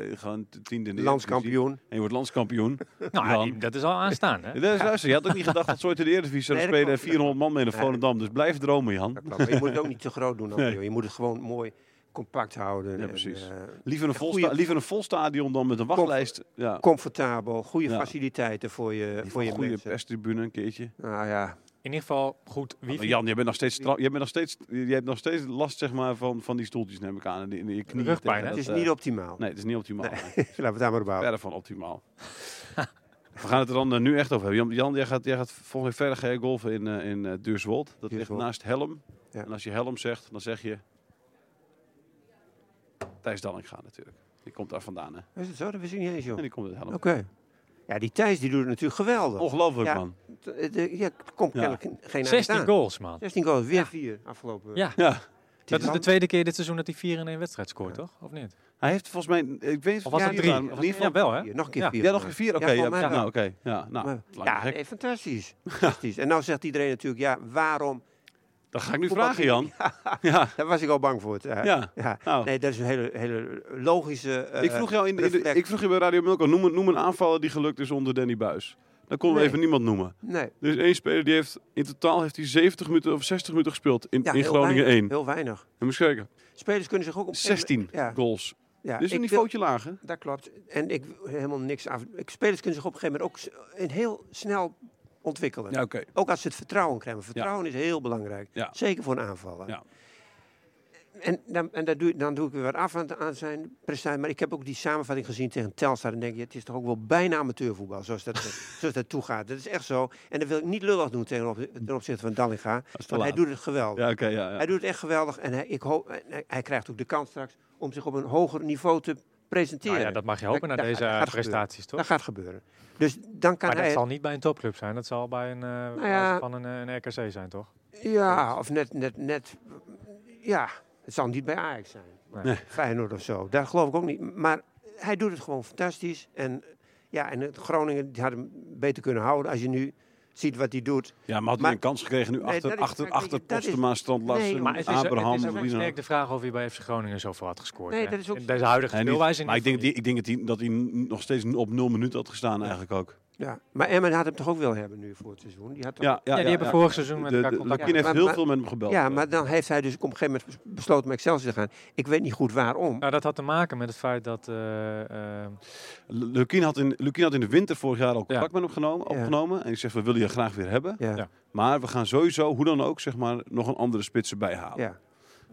B: eh, gewoon t- tiende in de Eredivisie.
D: landskampioen.
B: En je wordt landskampioen.
C: Nou, ja,
B: Dan-
C: die- dat is al aanstaan, hè?
B: Ja, dat is luister, je had ook niet gedacht dat ze ooit in de Eredivisie zouden
D: Nee, dat
B: spelen en
D: klopt.
B: 400 man mee naar
D: Nee.
B: Volendam. Dus blijf dromen, Jan.
D: Dat klopt. Maar je moet het ook niet te groot doen. dan,
B: Nee.
D: joh. Je moet het gewoon mooi compact houden.
B: Ja,
D: en,
B: precies.
D: eh,
B: Liever een, vol
D: Goeie-
B: sta- liever een vol stadion dan met een wachtlijst. Ja.
D: comfortabel, goede
B: Ja.
D: faciliteiten voor je, voor je
B: Goede
D: mensen.
B: perstribune een keertje.
D: Nou ja,
C: In ieder geval goed
B: Maar
C: wifi.
B: Jan, je bent nog steeds, stra- jij bent nog steeds, je hebt nog steeds last zeg maar, van, van die stoeltjes, neem ik aan. En die- en je knieën.
C: Rugpijn,
B: tegen
C: hè?
D: het is
B: dat, eh,
D: niet optimaal.
B: Nee, het is niet optimaal. nee.
D: Laten we het daar maar op houden.
B: Verder van optimaal. We gaan het er dan eh, nu echt over hebben. Jan, Jan jij, gaat, jij gaat volgende keer verder ga je golven in, eh, in eh, Duurswold. Dat ligt
D: Duurswold.
B: naast Helm.
D: Ja.
B: En als je Helm zegt, dan zeg je... Thijs Dalling gaat natuurlijk. Die komt daar vandaan, hè? En
D: Is het zo? Dat wist ik niet eens, joh. Oké.
B: die komt uit Helm.
D: Ja, die Thijs die doet het natuurlijk geweldig.
B: Ongelooflijk,
D: Ja.
B: man.
D: T- het, eh, Ja, er komt
B: Ja.
D: kennelijk geen- geen eind
C: 16
D: aan.
C: goals, man.
D: 16 goals, weer 4 afgelopen.
C: Ja,
B: Ja.
D: Het
C: dat is de
D: lang-
C: tweede keer dit seizoen dat hij 4 in één wedstrijd scoort,
D: Ja.
C: toch? Of niet?
B: Hij heeft volgens mij... Ik weet niet
C: Of was
B: ja,
C: het drie?
B: In ieder geval...
C: Ja, wel, hè?
D: Nog een keer
C: Ja.
D: 4.
B: Ja, nog een vier? Oké, ja,
D: volgens mij
B: nou,
D: wel.
B: oké. Ja, nou,
D: Maar-
B: lang
D: ja,
B: gek.
D: nee, fantastisch. fantastisch. En nou zegt iedereen natuurlijk, ja, waarom?
B: Dat ga ik nu
D: voetbal-
B: vragen, Jan. Ja,
D: Daar was ik al bang voor. Ja.
B: ja.
D: Ja.
B: Nou.
D: Nee, dat is een hele, hele logische... eh,
B: ik, vroeg jou in de, in de-
D: reflect.
B: ik vroeg je bij Radio Milko, noem, een- noem een aanvaller die gelukt is onder Danny Buis. Dan konden we
D: Nee.
B: even niemand noemen.
D: Nee.
B: Er is één speler die heeft in totaal heeft hij 70 minuten of 60 minuten gespeeld in,
D: Ja,
B: in
D: heel
B: Groningen
D: weinig,
B: 1.
D: Heel weinig.
B: En eens kijken,
D: Spelers kunnen zich ook op...
B: 16
D: Ja,
B: goals.
D: ja.
B: dus
D: ik
B: een niveautje laag, hè?
D: wil- dat klopt. En ik wil helemaal niks af... ik- Spelers kunnen zich op een gegeven moment ook s- in heel snel ontwikkelen.
B: Ja, oké.
D: Ook als ze het vertrouwen krijgen. Vertrouwen is heel belangrijk.
B: Ja.
D: Zeker voor een aanvaller.
B: Ja.
D: En, dan, en dat doe, ik- dan doe ik weer wat af aan, aan zijn prestatie. Maar ik heb ook die samenvatting gezien tegen Telstar. En denk je, het is toch ook wel bijna amateurvoetbal. Zoals dat, zoals dat toe gaat. Dat is echt zo. En dat wil ik niet lullig doen ten, op, ten opzichte van Dallinga.
B: is te
D: Want hij
B: laat.
D: doet het geweldig.
B: Ja, oké, ja, ja.
D: Hij doet het echt geweldig. En hij, ik hoop, en hij, hij krijgt ook de kans straks om zich op een hoger niveau te presenteren.
C: Nou ja, dat mag je hopen
D: Dat-
C: na
D: dat-
C: deze
D: dat gaat
C: eh, prestaties, toch?
D: Dat gaat gebeuren. Dus dan kan
C: Maar dat
D: hij...
C: zal niet bij een topclub zijn. Dat zal bij een, eh,
D: ja.
C: van een, eh, een RKC zijn, toch?
D: Ja, of net, net, net. Ja, Het zal niet bij Ajax zijn. Maar
C: Nee.
D: Feyenoord of zo. Daar geloof ik ook niet. Maar hij doet het gewoon fantastisch. En, ja, en het Groningen die had hem beter kunnen houden als je nu ziet wat hij doet.
B: Ja, maar had hij
D: Maar-
B: een kans gekregen nu
D: Nee,
B: achter,
D: dat is-
B: achter,
D: kijk,
B: achter
D: dat is-
B: Postema, Strand Larsen,
D: Nee,
C: Maar het is,
B: Abraham.
C: het is ook
B: wie dan ook.
C: sterk de vraag of hij bij FC Groningen zoveel had gescoord.
D: Nee,
C: hè?
D: dat is ook-
C: In deze huidige
B: Hij niet,
C: speelwijze. in
B: maar ik denk,
C: ieder
B: die, ik denk dat hij, dat hij nog steeds op nul minuten had gestaan eigenlijk ook.
D: Ja. Maar Emmen had hem toch ook wel hebben nu voor het seizoen. Die had toch-
B: Ja, ja,
C: geval niet. Ja, die hebben vorig seizoen met
B: De-
C: elkaar
B: de-
C: contact
B: Lakin heeft
D: Maar-
B: heel
D: maar-
B: veel met hem gebeld.
D: ja, maar dan heeft hij dus op een gegeven moment bes- besloten met Excelsior te gaan. Ik weet niet goed waarom.
C: Nou, dat had te maken met het feit dat... eh, eh,
B: Lukien had, in, Lukien had in de winter vorig jaar al contact
C: Ja.
B: met hem genomen,
D: Ja.
B: opgenomen. En ik zeg, we willen je graag weer hebben.
D: Ja.
C: Ja.
D: ja.
B: Maar we gaan sowieso, hoe dan ook, zeg maar, nog een andere spits erbij halen.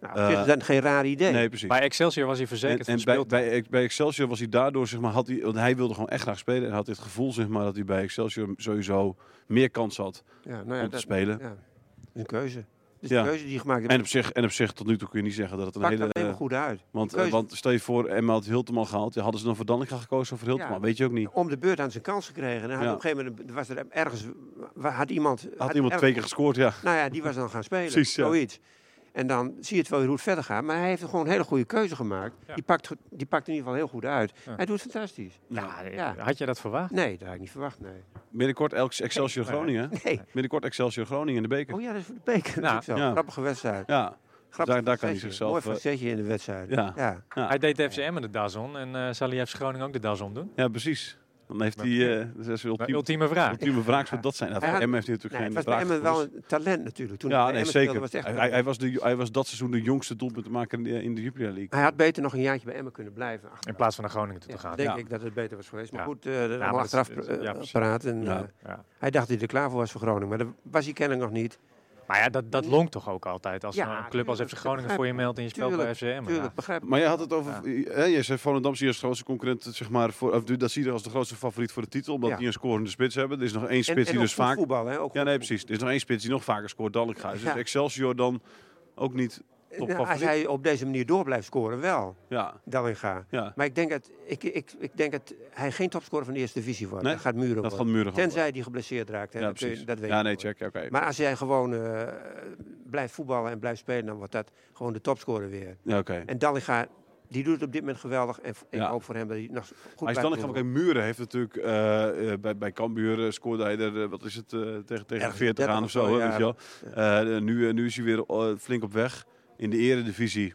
D: Nou, op zich
B: Oh. Eh,
D: is dat geen raar idee.
B: Nee, precies.
C: bij Excelsior was hij
B: en
C: verzekerd
B: en
C: van
B: bij,
C: speeltijd.
B: bij, bij Excelsior was hij daardoor, zeg maar, had hij, want hij wilde gewoon echt graag spelen. En had het gevoel, zeg maar, dat hij bij Excelsior sowieso meer kans had
D: ja, nou ja,
B: om te
D: dat-
B: spelen.
D: Ja. Een keuze. Dus
B: Ja.
D: de keuze die je gemaakt hebt,
B: En op, zich, en op zich, tot nu toe kun je niet zeggen dat het een
D: pakt
B: hele...
D: dat helemaal goed uit.
B: Want, eh,
D: keuze.
B: want stel je voor, Emma had Hilteman gehaald. Ja, hadden ze dan voor Dallinga gekozen of voor Hilteman?
D: Ja.
B: Weet je ook niet.
D: Om de beurt aan zijn kans gekregen. En hij had
B: Ja.
D: op een gegeven moment was er ergens wa- had iemand.
B: Had iemand
D: erg-
B: twee keer gescoord, ja.
D: Nou ja, die was dan gaan spelen.
B: Precies, ja.
D: Zoiets. En dan zie je het wel weer hoe het verder gaat. Maar hij heeft gewoon een hele goede keuze gemaakt.
C: Ja.
D: Die, pakt, ge- die pakt in ieder geval heel goed uit.
C: Ja.
D: Hij doet het fantastisch.
C: Ja,
D: Ja.
C: Had je dat verwacht?
D: Nee, dat had ik niet verwacht. Nee.
B: Nou, Binnenkort Elks Excelsior
C: Nee.
B: Groningen.
D: nee.
B: Binnenkort Excelsior Groningen in de beker.
D: Oh ja, dat is voor de beker. natuurlijk zo.
B: ja.
D: Grappige wedstrijd.
B: Ja,
D: Grappig
B: daar- daar kan hij
D: facetje.
B: zichzelf,
D: Mooi
B: eh,
D: facetje in de wedstrijd.
B: ja.
D: ja.
C: Hij deed de FCM de das om en eh zal hij FC Groningen ook de das om doen?
B: ja precies. Dan heeft hij... eh dat is
C: Maar
B: ultiem,
C: ultieme vraag.
B: ultieme wraak zou dat zijn. Ja,
D: Hij had-
B: Emma heeft natuurlijk
D: Nee, het
B: geen
D: was bij
B: wraak
D: Emmen
B: gevoelens.
D: wel een talent natuurlijk. Toen hij
B: Ja,
D: bij
B: nee,
D: Emmen speelde,
B: zeker.
D: was het echt-
B: hij, hij, was de, hij was dat seizoen de jongste doelpuntenmaker in de, in de Jupiler League.
D: Hij had beter nog een jaartje bij Emmen kunnen blijven. Ach,
C: In plaats van naar Groningen toe te
D: ja,
C: gaan.
D: denk
B: ja.
D: ik dat het beter was geweest. Maar
C: Ja.
D: goed, eh
C: maar
D: dat allemaal
C: dat is-
D: achteraf
C: dat is-
D: eh,
C: ja, precies.
D: praat. En,
B: Ja.
D: eh,
C: Ja.
D: hij dacht dat hij er klaar voor was voor Groningen. Maar dat was hij kennelijk nog niet.
C: Maar ja, dat, dat lonkt toch ook altijd als
D: Ja,
C: een club als FC
D: tuurlijk,
C: Groningen
D: dat
C: voor je meldt en je speelt bij
D: Tuurlijk,
C: FCM.
D: Tuurlijk, begrijp ik.
B: Maar jij had het over... Hè, je zei Volendam zie je als grootste concurrent, zeg maar, voor, of dat zie je als de grootste favoriet voor de titel, omdat
D: Ja.
B: die een scorende spits hebben. Er is nog één
D: En-
B: spits
D: en
B: die
D: ook
B: dus
D: goed
B: vaak...
D: voetbal, hè? Ook
B: Ja, nee, precies. Er is nog één spits die nog vaker scoort, Dalkhuis. Dus
D: Ja.
B: Excelsior dan ook niet
D: Nou, als
B: topfavoriet.
D: hij op deze manier door blijft scoren, wel.
B: Ja,
D: Dallinga.
B: ja.
D: Maar ik denk, dat, ik, ik, ik denk dat hij geen topscorer van de eerste divisie wordt.
B: Nee,
D: dat gaat muren
B: dat gaat
D: worden.
B: muren gaan.
D: Tenzij die geblesseerd raakt. Hè?
B: Ja,
D: dat, kun je-
B: precies.
D: dat weet
B: Ja,
D: ik
B: nee,
D: nooit.
B: check. Oké.
D: Maar als jij gewoon eh, blijft voetballen en blijft spelen, dan wordt dat gewoon de topscorer weer.
B: Ja, oké.
D: En Dallinga, die doet het op dit moment geweldig. En v- ik
B: Ja.
D: hoop voor hem dat hij nog goed
B: Maar
D: blijft
B: is dan ook
D: voetballen.
B: een muren heeft natuurlijk eh, eh, bij, bij Cambuur eh, scoorde hij er eh, wat is het eh, tegen tegen
D: Ergens
B: 40 aan of zo,
D: 30
B: hè,
D: of zo,
B: weet je
D: ja.
B: wel. Eh, eh, nu, eh, nu is hij weer eh, flink op weg in de eredivisie.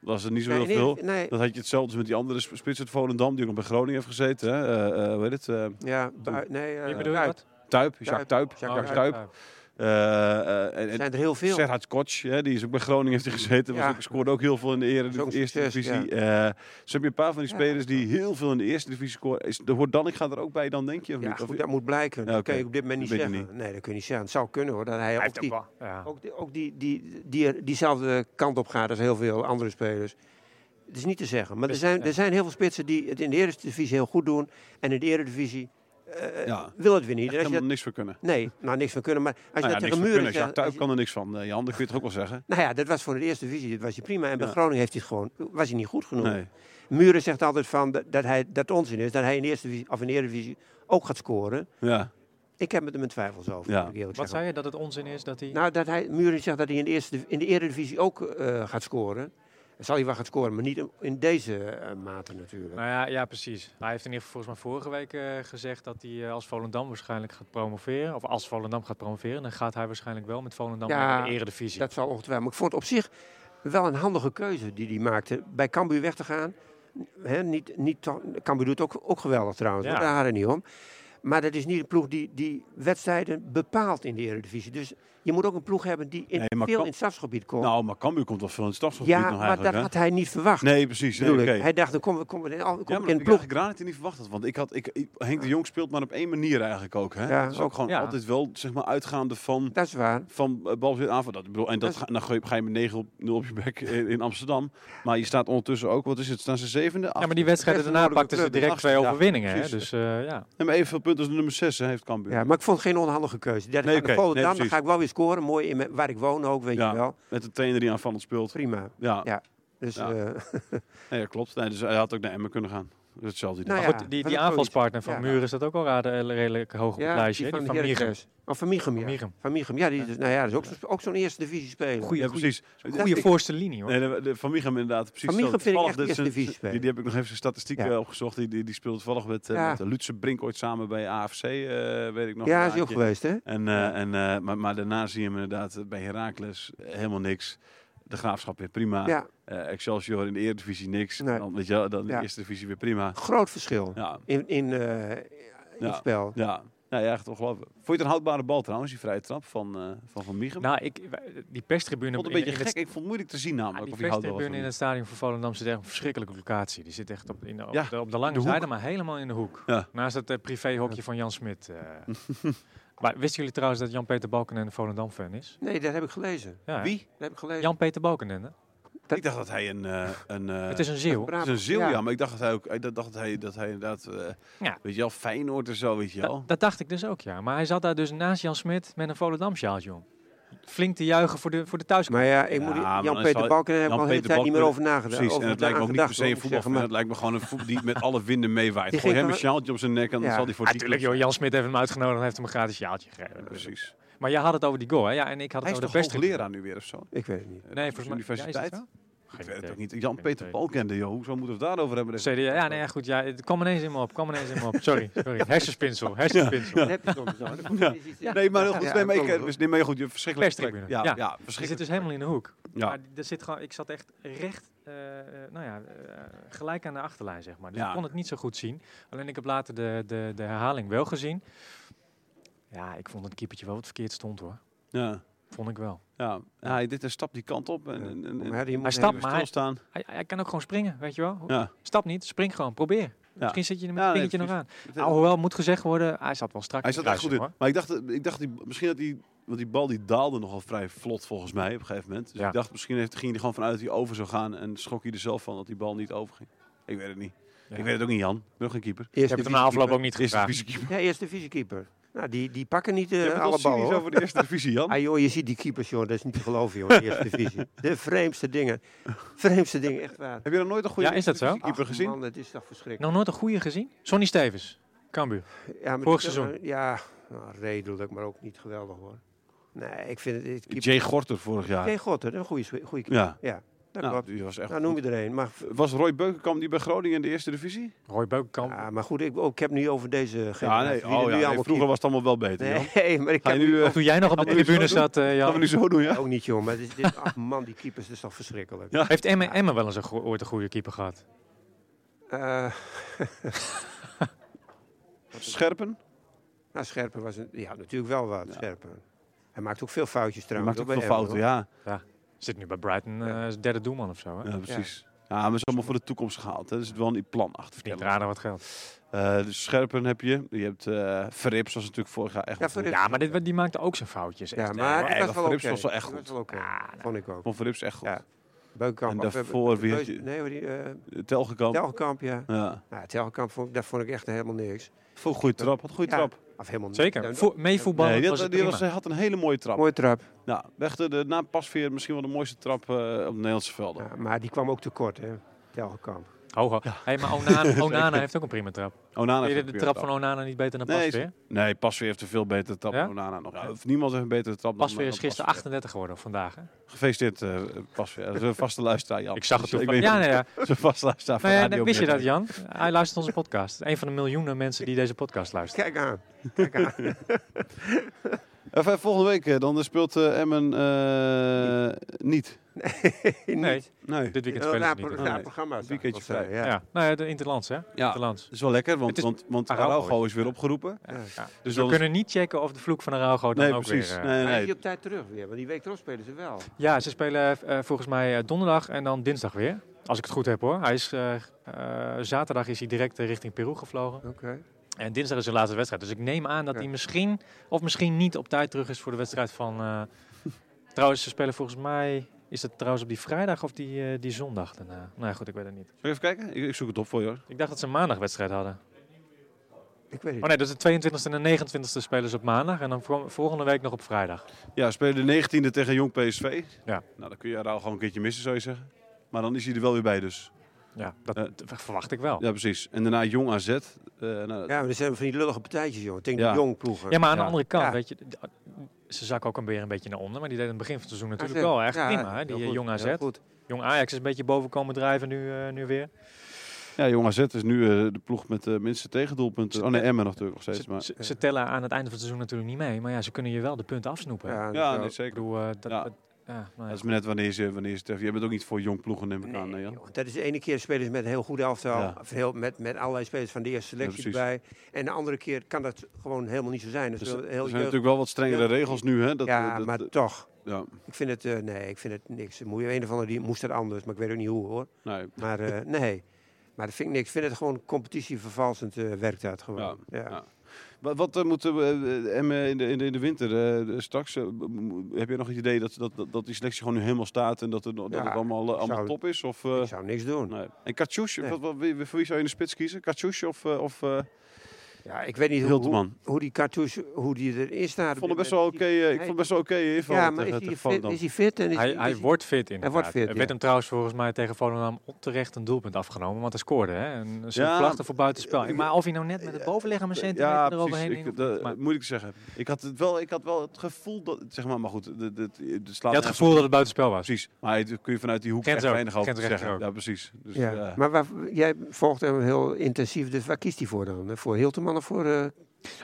B: Was er niet zo heel
D: Nee,
B: veel.
D: nee, nee,
B: Dat had je hetzelfde met die andere sp- spits uit Volendam, die ook nog bij Groningen heeft gezeten. Hè? Eh, eh, hoe heet het? Eh,
D: ja, bui- nee, eh,
C: Je bedoelt
D: uit.
C: wat?
B: Tuip, Jacques Tuip.
D: Tuip.
B: Jacques
C: Oh,
B: Tuip.
C: ja.
B: Eh, eh, en-
D: Er
B: en-
D: zijn er heel veel.
B: Serhat Koch, hè, die is ook bij Groningen heeft hij gezeten. Was
D: Ja.
B: ook, scoorde ook heel veel in de
D: Is ook
B: ere-
D: een
B: eerste
D: succes,
B: divisie. Eh, dus heb je een paar van die
D: Ja.
B: spelers die heel veel in de eerste divisie scoren. Is, de hoort Danik gaat er ook bij dan, denk je? Of
D: Ja,
B: niet? Of-
D: goed, dat moet blijken.
B: Ja,
D: Dat
B: oké.
D: kun je op dit moment
B: Dat
D: niet
B: weet je
D: zeggen. Nee, dat kun je niet zeggen. Het zou kunnen hoor. Dat hij, ook, die,
C: Ja.
D: ook, die, ook die, die, die er diezelfde kant op gaat als heel veel andere spelers. Het is niet te zeggen. Maar er
C: Dus-
D: zijn,
C: ja.
D: er zijn heel veel spitsen die het in de Eerste Divisie heel goed doen. En in de Eredivisie eh
B: Ja.
D: wil het weer niet. En als je
B: helemaal
D: dat-
B: niks voor kunnen.
D: nee, nou niks van kunnen. Maar als je
B: Nou ja,
D: dat
B: niks
D: tegen
B: voor kunnen.
D: muren zegt...
B: Jacques Tuip
D: als je-
B: kan er niks van. Eh, Jan, dat kun je toch ook wel zeggen?
D: Nou ja, dat was voor de Eerste Divisie. Dat was je prima. En bij
B: Ja.
D: Groningen heeft hij het gewoon, was hij niet goed genoeg.
B: Nee.
D: Muren zegt altijd van, dat, dat hij, dat onzin is. Dat hij in de Eerste Divisie, of in de Eredivisie ook gaat scoren.
B: Ja.
D: Ik heb er mijn twijfels over,
B: Ja.
D: moet ik eerlijk
C: Wat
D: zeggen.
C: zei je dat het onzin is dat hij.
D: Nou, dat hij, Muren zegt dat hij in de, eerste, in de Eredivisie ook eh, gaat scoren. Dan zal hij wel gaan scoren, maar niet in deze eh, mate natuurlijk.
C: Nou ja, ja, precies. Hij heeft in ieder geval volgens mij vorige week eh, gezegd dat hij eh, als Volendam waarschijnlijk gaat promoveren. Of als Volendam gaat promoveren, dan gaat hij waarschijnlijk wel met Volendam
D: Ja,
C: naar de eredivisie.
D: Dat zal ongetwijfeld. Maar ik vond het op zich wel een handige keuze die hij maakte. Bij Cambuur weg te gaan. Hè, niet, niet, to- Cambuur doet ook, ook geweldig trouwens,
C: Ja.
D: hoor, daar gaat het niet om. Maar dat is niet een ploeg die, die wedstrijden bepaalt in de Eredivisie. Dus je moet ook een ploeg hebben die in,
B: Nee, maar
D: veel
B: Cam-
D: in het strafgebied komt.
B: Nou, maar Cambuur komt wel veel in het stafselgebied
D: ja,
B: nog
D: maar dat
B: eigenlijk.
D: had hij niet verwacht.
B: hè? Nee, precies. Nee,
D: bedoel ik.
B: oké.
D: Hij dacht, dan komen we, komen we in, al- kom
B: Ja,
D: ik
B: maar
D: in
B: ik ploeg...
D: de ploeg.
B: eigenlijk Granit niet verwacht had. Want ik had, ik, ik- Henk de Jong speelt maar op één manier eigenlijk ook. Hè?
D: Ja,
B: Het is ook
D: ook.
B: gewoon
C: Ja.
B: altijd wel zeg maar, uitgaande van
D: Dat is waar.
B: van eh, balbezit aanval. Dat, ik bedoel, en dat,
D: Dat
B: ga, dan gooi je- ga je met 9 op 0 op je bek eh, in, in Amsterdam. Maar je staat ondertussen ook, wat is het, staan ze zevende?
C: ja, maar
B: Achtste?
C: die wedstrijden
D: best
C: daarna
D: een
C: pakten ze
D: moeilijke
C: direct
B: club,
C: twee
B: ja,
C: overwinningen. hè?
B: precies.
C: Dus eh, ja.
B: En maar evenveel punten als de nummer 6 heeft Cambuur.
D: Ja, maar ik vond het geen onhandige keuze. Dat
B: Nee,
D: nee,
B: oké. Nee,
D: Volendam, dan
B: precies.
D: ga ik wel weer scoren. Mooi in mijn- waar ik woon ook, weet
B: Ja.
D: je wel.
B: Met de trainer die aanvallend speelt.
D: Prima.
B: Ja,
D: Ja. Dus
B: Ja.
D: eh,
B: Nee, dat klopt. Nee, dus hij had ook naar Emmen kunnen gaan. Hetzelfde idee.
D: Nou
B: Maar
D: ja,
B: goed,
C: Die,
D: wat
C: die
D: ook
C: aanvalspartner van
D: zoiets. Ja.
C: Muren is dat ook al raden- redelijk hoog op het
D: Ja,
C: lijstje.
D: die
C: hè?
D: van,
C: Die
D: de
C: van Mieren.
D: Heracles. Oh, van Michum, ja.
C: Van Michum.
D: Van Michum, ja. Die, dus, nou ja, dat is ook, zo- ook zo'n eerste divisie spelen.
B: ja, precies.
C: Goede voorste linie hoor.
B: Nee, de, de Van Michem inderdaad. Precies
D: Van Michum
B: hetzelfde. Toevallig,
D: vind ik echt eerste
B: dat is een-
D: divisie
B: Die,
D: spelen.
B: die heb ik nog even zijn statistieken
D: Ja.
B: opgezocht. Die, die, die speelt toevallig met, eh,
D: Ja.
B: met Lutse Brink ooit samen bij AFC, eh, weet ik nog.
D: Ja,
B: een
D: is hij ook
B: jaartje.
D: geweest, hè?
B: En, eh, en, eh, maar, maar daarna zie je hem inderdaad eh, bij Heracles eh, helemaal niks. De Graafschap weer prima.
D: Ja,
B: Eh, Excelsior in de Eredivisie niks.
D: Nee.
B: Dan, weet je, wel, dan in de
D: Ja.
B: Eerste Divisie weer prima.
D: groot verschil
B: Ja,
D: in, in, eh, in
B: Ja.
D: het spel.
B: ja. Nou ja, echt ongelooflijk. Vond je het een houdbare bal trouwens, die vrije trap van eh, van, van Michum?
C: Nou, ik, wij- die perstribune
B: ik vond het
C: in-
B: een
C: in
B: beetje
C: het
B: gek. Ik vond het moeilijk te
C: Ja,
B: zien namelijk.
C: die
B: of die houdbaar was
C: perstribune
B: of
C: in
B: niet.
C: het stadion van Volendam zit echt een verschrikkelijke locatie. Die zit echt op, in, de- op,
B: Ja,
C: de, op de lange
B: de hoek.
C: zijde, maar helemaal in de hoek.
B: Ja.
C: Naast het eh, privéhokje van Jan Smit. eh. maar wisten jullie trouwens dat Jan-Peter Balkenende een Volendam-fan is?
D: Nee, dat heb ik gelezen.
C: Ja, hè?
B: Wie?
D: Dat heb ik gelezen.
C: Jan-Peter Balkenende.
D: dat-
B: Ik dacht dat hij een... eh, een eh,
C: het is een Zeeuw.
B: Het
D: Brabant.
B: is een ziel, ja.
D: Ja.
B: maar ik dacht dat hij ook, ik dacht dat hij, dat hij inderdaad, eh,
C: Ja.
B: weet je wel, Feyenoord of zo, weet je
C: Da-
B: wel.
C: dat dacht ik dus ook, ja. Maar hij zat daar dus naast Jan Smit met een Volendam-sjaaltje om. Flink te juigen voor de, voor de thuiskomst.
D: Maar ja, ik moet
B: Ja, maar dan
D: Jan-Peter
B: zal-
D: Balken heb ik al de hele
B: Jan-Peter
D: tijd niet meer
B: Balken-
D: over nagedacht.
B: Precies,
D: over
B: en het lijkt me ook niet per se een
D: voetbal.
B: voetbalfan, het lijkt me gewoon een voetbal die met alle winden meewaait.
D: Die
B: Gooi
D: ging
B: hem een
D: dan-
B: sjaaltje op zijn nek en dan
D: Ja.
B: zal hij voor die
C: Natuurlijk, joh. Jan Smit heeft hem uitgenodigd en heeft hem een gratis sjaaltje gegeven.
B: Ja, precies.
C: Maar jij had het over die goal, hè? Ja, en ik had
B: Hij
C: het over
B: is toch
C: de perstribune.
B: hoogleraar nu weer of zo?
D: Ik weet het niet.
C: Nee, volgens mij. ja, is dat
B: Universiteit?
C: zo?
B: ik
C: Geen
B: weet het
C: idee.
B: ook niet.
C: Geen
B: Jan-Peter
C: idee.
B: Balkende, joh. Hoezo moeten we het daarover hebben?
C: CDA, ja, nee, ja, goed. Ja, het kwam ineens in me op. kwam ineens in me op. Sorry, sorry. Hersenspinsel, hersenspinsel.
D: Dat heb je soms wel. Dat is iets-
B: Nee, maar heel goed.
D: Ja,
B: nee, maar ik,
D: dat
B: eh,
D: klopt.
B: dus- nee, maar heel goed. Je verschrikkelijk.
C: Perstribune.
B: Ja,
C: Ja.
B: ja,
C: Je zit
B: verschrikkelijk.
C: dus helemaal in de hoek.
B: Ja.
C: Maar er zit gewoon, ik zat echt recht, eh, eh, nou ja, eh, gelijk aan de achterlijn, zeg maar. Dus
B: Ja.
C: ik kon het niet zo goed zien. Alleen ik heb later de, de, de herhaling wel gezien. Ja, ik vond het keepertje wel wat verkeerd stond, hoor.
B: Ja.
C: Vond ik wel.
B: Ja, Ja, hij dit een stap die kant op en, en, en, en
D: Maar die
C: Hij
D: moet
C: stapt, maar hij,
B: stilstaan.
C: hij, hij kan ook gewoon springen, weet je wel.
B: Ja.
C: Stap niet, spring gewoon, probeer. Misschien zit je er met een
B: Ja, nee,
C: vingertje nog aan.
B: precies.
C: Alhoewel, moet gezegd worden, hij zat wel strak
B: Hij
C: in
B: zat
C: de
B: echt goed
C: kruising,
B: in. Maar ik dacht, ik dacht die, misschien dat die, want die bal die daalde nogal vrij vlot volgens mij op een gegeven moment. Dus
C: Ja.
B: ik dacht, misschien heeft, ging hij er gewoon vanuit dat hij over zou gaan en schrok hij er zelf van dat die bal niet overging. Ik weet het niet.
C: Ja.
B: Ik weet het ook niet, Jan. Ik ben ook geen keeper.
C: Ik heb het na afloop ook niet
B: Eerste
C: gevraagd.
B: divisiekeeper.
D: Ja, eerste divisiekeeper. Nou, die, die pakken niet eh,
B: Je bent wel
D: alle ballen
B: cynisch
D: hoor.
B: over de eerste divisie, Jan.
D: Ah, joh, je ziet die keepers, joh, dat is niet te geloven, joh, in de eerste divisie. De vreemdste dingen. Vreemdste dingen, echt waar.
B: Heb je nog nooit een goede
C: Ja, is dat zo?
B: keeper
D: Ach,
B: gezien?
D: Man, dat is toch verschrikkelijk.
C: Nog nooit een goede gezien? Sonny Stevens, Cambuur.
B: Nou,
D: Ja, maar
C: Vorig
D: die-
C: seizoen.
D: Ja, nou, redelijk, maar ook niet geweldig hoor. Nee, ik vind het... het keeper...
B: Jay Gorter vorig jaar.
D: Geen god, hè, een goede goede keeper.
B: Ja,
D: Ja, dat
B: nou,
D: klopt.
B: die was echt
D: Nou, noem
B: goed.
D: je er een. Maar,
B: Was Roy Beukenkamp die bij Groningen in de eerste divisie?
C: Roy Beukenkamp.
D: ja, Ah, maar goed, ik, ook, ik heb nu over deze generatie.
B: Ja, nee.
D: die er
B: Oh,
D: nu
B: ja, nee,
D: allemaal
B: vroeger was het allemaal wel beter,
D: keeper-
B: Jan.
D: Nee, maar ik
B: Ga
D: heb
B: je nu, eh,
C: Toen jij nog op de
B: Gaan we nu
C: tribune
B: zo doen?
C: zat, eh,
B: gaan we
C: Jan.
B: nu zo doen, ja?
D: ook niet, joh. Maar dit, dit, ach man, die keepers, dat is toch verschrikkelijk.
B: Ja.
C: Heeft Emme, Emme wel eens een go- ooit een goede keeper gehad?
D: Eh,
B: Scherpen?
D: nou, Scherpen was een, ja, natuurlijk wel wat, Scherpen. Hij maakt ook veel foutjes
B: Die
D: trouwens.
B: maakt ook
D: hoor,
B: veel
D: bij
B: fouten,
D: Emmen,
B: ja.
C: Zit nu bij Brighton eh, als derde doelman of zo. Hè?
B: Ja, precies. Ja, maar het is allemaal voor de toekomst gehaald. Hè. Er zit wel een plan achter.
C: Verdient raden wat geld.
B: Eh, dus Scherpen heb je. Je hebt eh Verrips, was natuurlijk vorig jaar echt
D: Ja,
B: wel goed.
D: Verrips.
C: Ja, maar dit, wa- die maakte ook zijn foutjes.
D: hoor.
C: echt,
D: Ja,
C: hè,
D: maar
C: hoor.
B: nee,
D: het
B: maar
D: was wel
B: Verrips
D: oké.
B: was wel echt
D: Het
B: goed.
D: wel oké.
C: Ja,
D: Vond ik ook.
B: Van Verrips echt goed.
D: Ja. Beukenkamp.
B: En
D: of, eh,
B: daarvoor wie had
D: Beus-
B: je? Oh.
D: Nee, maar die, eh,
B: Telgekamp.
D: Telkamp, ja.
B: ja.
D: Nou, Telkamp, vond, ik- dat vond ik echt helemaal niks.
B: Vond een goede trap. Had een goede
D: Ja,
B: trap.
D: Of helemaal niks.
C: Zeker.
D: Dan-
C: Vo meevoetballen
B: nee, die
C: was
B: had,
C: het
B: die
C: prima.
B: was, hij had een hele mooie trap.
D: Mooie trap.
B: Nou, weg de, de, na Pasveer misschien wel de mooiste trap eh, op de Nederlandse velden.
D: Ja, maar die kwam ook tekort, hè. Telkamp.
C: Ho, ho. Hey, maar Onana, Onana heeft ook een prima trap.
B: Onana
C: Vind je
B: heeft
C: de
B: een
C: trap
B: goede
C: van Onana niet beter dan
B: Nee,
C: Pasveer?
B: Nee, Pasveer heeft een veel betere trap
C: Ja?
B: dan Onana nog. Ja, of niemand heeft een betere trap dan
C: Pasveer is
B: dan
C: gisteren 38 geworden, of vandaag. Hè?
B: Gefeliciteerd, eh Pasveer. Dat is een vaste luisteraar, Jan.
C: Ik zag het
B: Dus
C: toen.
B: Ik
C: Ja,
B: ben
C: nee, ja.
B: een vaste luisteraar van
C: Nou ja,
B: Radio
C: wist je dat,
B: Meerderheid.
C: Jan? Hij luistert onze podcast. Een van de miljoenen mensen die deze podcast luisteren.
D: Kijk aan. Kijk aan.
B: Enfin, volgende week eh, dan speelt eh, Emmen eh, niet.
C: Nee,
B: Nee.
C: dit weekend
D: Een
C: spelen ze
D: raar,
C: niet.
D: pro-
C: hoor.
D: raar
B: Nee.
D: programma. zou ik
B: Weekendje vrij.
D: wel zeggen, Ja.
C: Ja, nou ja, de Interlands, hè? Interlands.
B: Dat is wel lekker, want,
C: Het is
B: want, want
C: Araujo.
B: Araujo is weer opgeroepen.
C: Ja.
B: Dus
C: we
B: dan is-
C: kunnen niet checken of de vloek van Araujo dan
B: nee,
C: ook
B: precies.
C: weer... eh,
B: nee,
D: Hij
B: nee,
D: is
B: nee.
D: op tijd terug weer, want die week erop spelen ze wel.
C: Ja, ze spelen eh, volgens mij eh, donderdag en dan dinsdag weer. Als ik het goed heb hoor. Hij is, eh, eh, zaterdag is hij direct eh, richting Peru gevlogen.
D: Oké.
C: En dinsdag is zijn laatste wedstrijd. Dus ik neem aan dat
D: Ja.
C: hij misschien of misschien niet op tijd terug is voor de wedstrijd van... eh, trouwens, ze spelen volgens mij... Is dat trouwens op die vrijdag of die, eh, die zondag daarna? Nou ja, goed, ik weet het niet.
B: Zal ik even kijken? Ik, ik zoek het op voor je. hoor.
C: Ik dacht dat ze een maandagwedstrijd hadden.
D: Ik weet het
C: Oh nee, dus de 22e en de 29e spelen ze op maandag. En dan vo- volgende week nog op vrijdag.
B: Ja, we spelen de 19e tegen Jong PSV.
C: Ja.
B: Nou, dan kun je Araujo gewoon een keertje missen, zou je zeggen. Maar dan is hij er wel weer bij dus.
C: Ja, dat
B: Eh,
C: dat verwacht ik wel. Ja,
B: Ja, precies. En daarna Jong AZ. eh, nou,
D: Ja, maar er zijn van die lullige partijtjes, jongen. Tegen
B: Ja.
D: de jong ploegen.
C: maar aan
B: Ja.
C: de andere kant,
D: Ja.
C: weet je, d- ze zakken ook een weer een beetje naar onder. Maar die deden aan het begin van het seizoen natuurlijk
D: AZ.
C: wel echt
D: Ja,
C: prima. Hè? Die
D: heel
C: eh,
D: goed,
C: jong
D: heel
C: AZ.
D: goed.
C: Jong Ajax is een beetje boven komen drijven nu, eh, nu weer.
B: Ja, Jong AZ is nu eh, de ploeg met de minste tegendoelpunten. Oh nee, Emmen natuurlijk nog steeds.
C: Ze,
B: Maar,
C: ze, ze tellen aan het einde van het seizoen natuurlijk niet mee. Maar ja, ze kunnen je wel de punten afsnoepen.
D: Ja, dat
B: ja,
D: wel.
B: nee,
C: Ik
B: zeker.
C: bedoel, eh, dat,
B: Ja.
C: dat- ja, nou ja.
B: Dat is maar net wanneer ze, wanneer ze treffen. Je bent ook niet voor jong ploegen, neem ik aan. eh,
D: Nee,
B: Nee, ja.
D: joh, dat is de ene keer spelers met een heel goed elftal,
B: Ja.
D: of heel, met, met allerlei spelers van de eerste selectie
B: precies.
D: erbij. En de andere keer kan dat gewoon helemaal niet zo zijn. Dat is
B: Dus
D: wel
B: er
D: heel
B: zijn
D: jeugd-
B: natuurlijk wel wat strengere regels nu. Hè? Dat, eh,
D: ja,
B: dat-
D: maar
B: dat-
D: toch.
B: ja.
D: Ik vind het, eh, nee, ik vind het niks. Moet je een of andere, die moest dat anders, maar ik weet ook niet hoe hoor.
B: Nee,
D: Maar eh, nee, maar dat vind ik niks. Ik vind het gewoon competitievervalsend eh, werkt dat
B: ja,
D: gewoon. Ja.
B: ja. Wat, wat eh, moeten we eh, Emmen in de, in de, in de winter eh, straks? eh, m- m- heb je nog het idee dat, dat, dat, dat die selectie gewoon nu helemaal staat en dat, er, nog- dat
D: Ja,
B: het allemaal, eh, allemaal
D: zou-
B: top is? Of, eh,
D: Ik zou niks doen.
B: nee. En Katsjoes,
D: Nee.
B: wat, wat, wie, voor wie zou je in de spits kiezen? Katsjoes of, eh, of eh
D: Ja, ik weet niet hoe, hoe,
B: Hilteman?
D: hoe die cartouche, hoe die erin staat.
B: Ik vond het best wel oké. eh, ik vond het best wel oké invallen
D: Ja, maar
B: tegen-
D: is hij
B: tegen
D: fit?
B: Volendam.
D: Is hij fit? En is
C: Hij, hij
D: is
C: wordt fit inderdaad.
D: wordt fit,
C: Er
D: ja.
C: werd hem trouwens volgens mij tegen Volendam onterecht een doelpunt afgenomen. Want hij scoorde, hè? Een, een soort
B: Ja.
C: klachten voor buitenspel. Maar of hij nou net met het bovenlichaam een centimeter
B: Ja, precies.
C: eroverheen
B: Ik,
C: ging,
B: dat-
C: maar-
B: moet ik zeggen. Ik had, het wel, ik had wel het gevoel dat... Zeg maar, maar goed, de- de- de- het slaat
C: Je had
B: nergens
C: het
B: op.
C: gevoel dat het buitenspel was.
B: Precies. Maar het kun je vanuit die hoek
C: Gent
B: echt
C: ook.
B: weinig over
C: Gent rechter
B: zeggen.
C: ook.
B: Ja, precies. Dus,
D: ja.
B: ja.
D: Maar waar, jij volgt hem heel intensief, dus waar kiest hij voor dan? Voor Hilteman of voor... eh,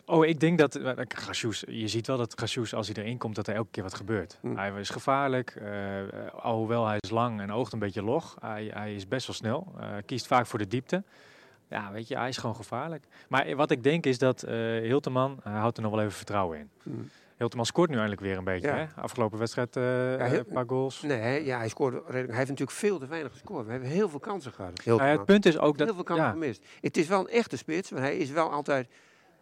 C: Oh, ik denk dat eh, Gracious, je ziet wel dat Gracious als hij erin komt, dat er elke keer wat gebeurt.
D: Hm.
C: Hij is gevaarlijk, eh, eh, alhoewel hij is lang en oogt een beetje log. Hij, hij is best wel snel, eh, kiest vaak voor de diepte. Ja, weet je, hij is gewoon gevaarlijk. Maar eh, wat ik denk is dat eh, Hilteman, hij houdt er nog wel even vertrouwen in.
D: Hm.
C: Hilteman scoort nu eindelijk weer een beetje,
D: Ja.
C: hè? Afgelopen wedstrijd eh,
D: Hil-
C: een paar goals.
D: nee, hè, ja, hij, scoorde redelijk, hij heeft natuurlijk veel te weinig gescoord. We hebben heel veel kansen gehad. Heel,
C: Nou ja, het punt is ook
D: heel
C: dat...
D: veel kansen
C: ja,
D: gemist. Het is wel een echte spits, maar hij is wel altijd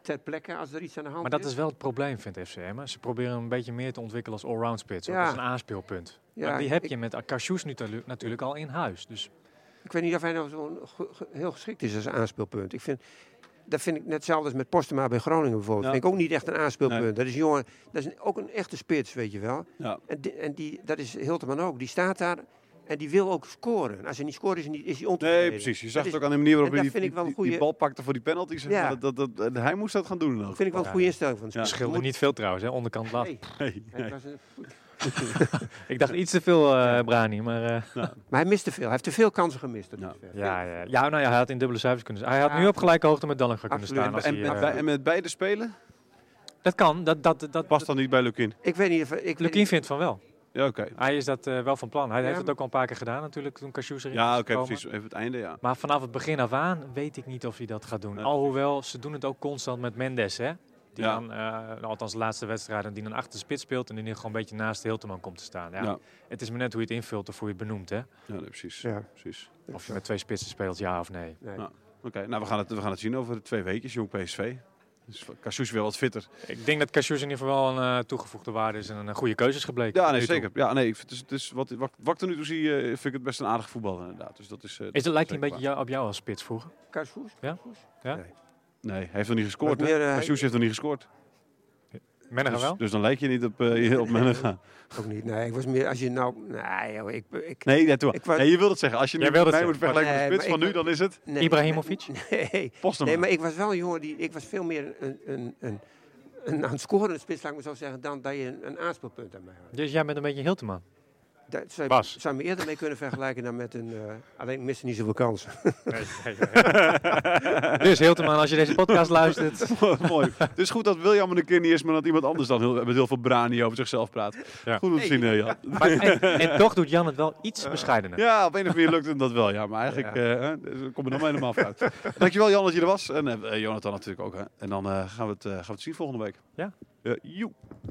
D: ter plekke als er iets aan de hand
C: maar dat is wel het probleem, vindt FCM. Ze proberen hem een beetje meer te ontwikkelen als allround spits. ook
D: Ja.
C: als een aanspeelpunt.
D: Ja,
C: maar die heb
D: ik,
C: je met Cassius nu talu- natuurlijk al in huis. Dus
D: ik weet niet of hij nou zo heel geschikt is als aanspeelpunt. Ik vind, dat vind ik net hetzelfde als met Postema bij Groningen bijvoorbeeld.
B: Ja.
D: vind ik ook niet echt een aanspeelpunt.
B: Nee.
D: Dat is jongen, dat is een- ook een echte spits, weet je wel.
B: Ja.
D: En, di- en die, dat is Hilteman ook. Die staat daar en die wil ook scoren. Als hij niet scoort, is hij, niet, is hij ontevreden.
B: Nee, precies. Je zag
D: Dat is-
B: het ook aan de manier waarop
D: en
B: hij die,
D: dat vind ik wel een
B: die- die
D: goede-
B: bal pakte voor die penalty. Zeg
D: Ja.
B: maar. dat, dat, dat, hij moest dat gaan doen. Ook.
D: vind ik wel een goede instelling van de
B: Ja.
D: spits.
C: scheelde niet veel trouwens, hè, onderkant lat.
D: Nee,
B: Nee,
D: het
B: nee.
D: was een-
C: Ik dacht iets te veel eh, Brani, maar... eh,
D: Maar hij mist te veel. Hij heeft te veel kansen gemist. tot
B: Ja.
D: dusver.
C: ja, ja, ja, nou ja, hij had in dubbele cijfers kunnen zijn. Hij had
D: Ja.
C: nu op gelijke hoogte met Dallinga kunnen
D: Absoluut.
C: staan. Als
B: En,
C: hij,
B: met
C: eh,
B: bij- en met beide spelen
C: dat kan, dat, dat, dat,
B: past dan niet bij Lukin.
D: Ik weet niet of... Ik weet
C: Lukien
D: niet-
C: vindt van wel.
B: Ja, oké.
C: Hij is dat eh, wel van plan. Hij
D: Ja,
C: heeft het
D: maar-
C: ook al een paar keer gedaan natuurlijk, toen Cassius erin
B: Ja,
C: is
B: oké,
C: gekomen.
B: precies. Even het einde, ja.
C: Maar vanaf het begin af aan weet ik niet of hij dat gaat doen.
B: Nee.
C: Alhoewel, ze doen het ook constant met Mendes, hè? Die
B: Ja.
C: dan, eh, althans de laatste wedstrijden, die dan achter de spits speelt en die nu gewoon een beetje naast de Hilteman komt te staan. Ja,
B: Ja.
C: Het is maar net hoe je het invult of hoe je het benoemt, hè?
B: Ja, nee, precies.
D: Ja.
B: precies.
C: Of je met twee spitsen speelt, ja of nee.
D: Nee.
B: Nou. Oké, nou we gaan, het, we gaan het zien over twee weken. Jong PSV. Dus Kassouche weer wat fitter.
C: Ik denk dat Cassius in ieder geval een eh, toegevoegde waarde is en een eh, goede keuze is gebleken.
B: Ja,
C: tot
B: nee,
C: nu toe.
B: zeker. Ja, nee, ik vind- het is, het is wat, wat, wat ik er nu toe zie, eh, vind ik het best een aardig voetballer inderdaad. Dus dat is, eh,
C: Is dat, lijkt hij een
B: zeker
C: beetje jou- op jou als spits vroeger?
D: Karsvoes?
C: Ja?
B: waar. Nee, hij heeft nog niet gescoord.
D: Wat
B: hè?
D: meer, eh,
B: Kassouche heeft nog niet gescoord.
C: Menega
B: Dus,
C: wel?
B: dus dan lijk je niet op, eh op Menega.
D: Ook niet. Nee, ik was meer... Als je nou... Nee, joh, ik... ik
B: Nee, nee, toe.
D: Ik wou-
B: nee, je wilt het zeggen. Als je nu
C: Jij wil het
B: mij moet
C: zeggen.
B: vergelijken met de
D: Nee,
B: spits
D: maar
B: van nu,
D: ik-
B: dan is het
D: nee,
C: Ibrahimovic?
D: Nee.
B: Postema.
D: Nee, maar ik was wel een jongen die... Ik was veel meer een... een, een een aan het scoren spits, laat ik maar zo zeggen, dan dat je een, een aanspeelpunt aan mij had.
C: Dus jij bent een beetje Hilteman.
D: Daar zou, je-
C: Bas.
D: zou je me eerder mee kunnen vergelijken dan met een... eh, alleen ik miste niet zoveel kansen.
C: dus Hilteman, als je deze podcast luistert,
B: Mooi. Het is goed dat William er een keer niet is, maar dat iemand anders dan heel, met heel veel brani over zichzelf praat.
C: Ja.
B: Goed om te zien, eh, Jan.
C: Maar en, en toch doet Jan het wel iets bescheidener.
B: Ja, op een of andere manier lukt hem dat wel. Ja, maar eigenlijk eh, hè, dus we komen er nog helemaal vooruit. Dankjewel Jan dat je er was. En eh, Jonathan natuurlijk ook. Hè. En dan eh, gaan, we het, eh, gaan we het zien volgende week.
C: Ja.
B: Eh, joe.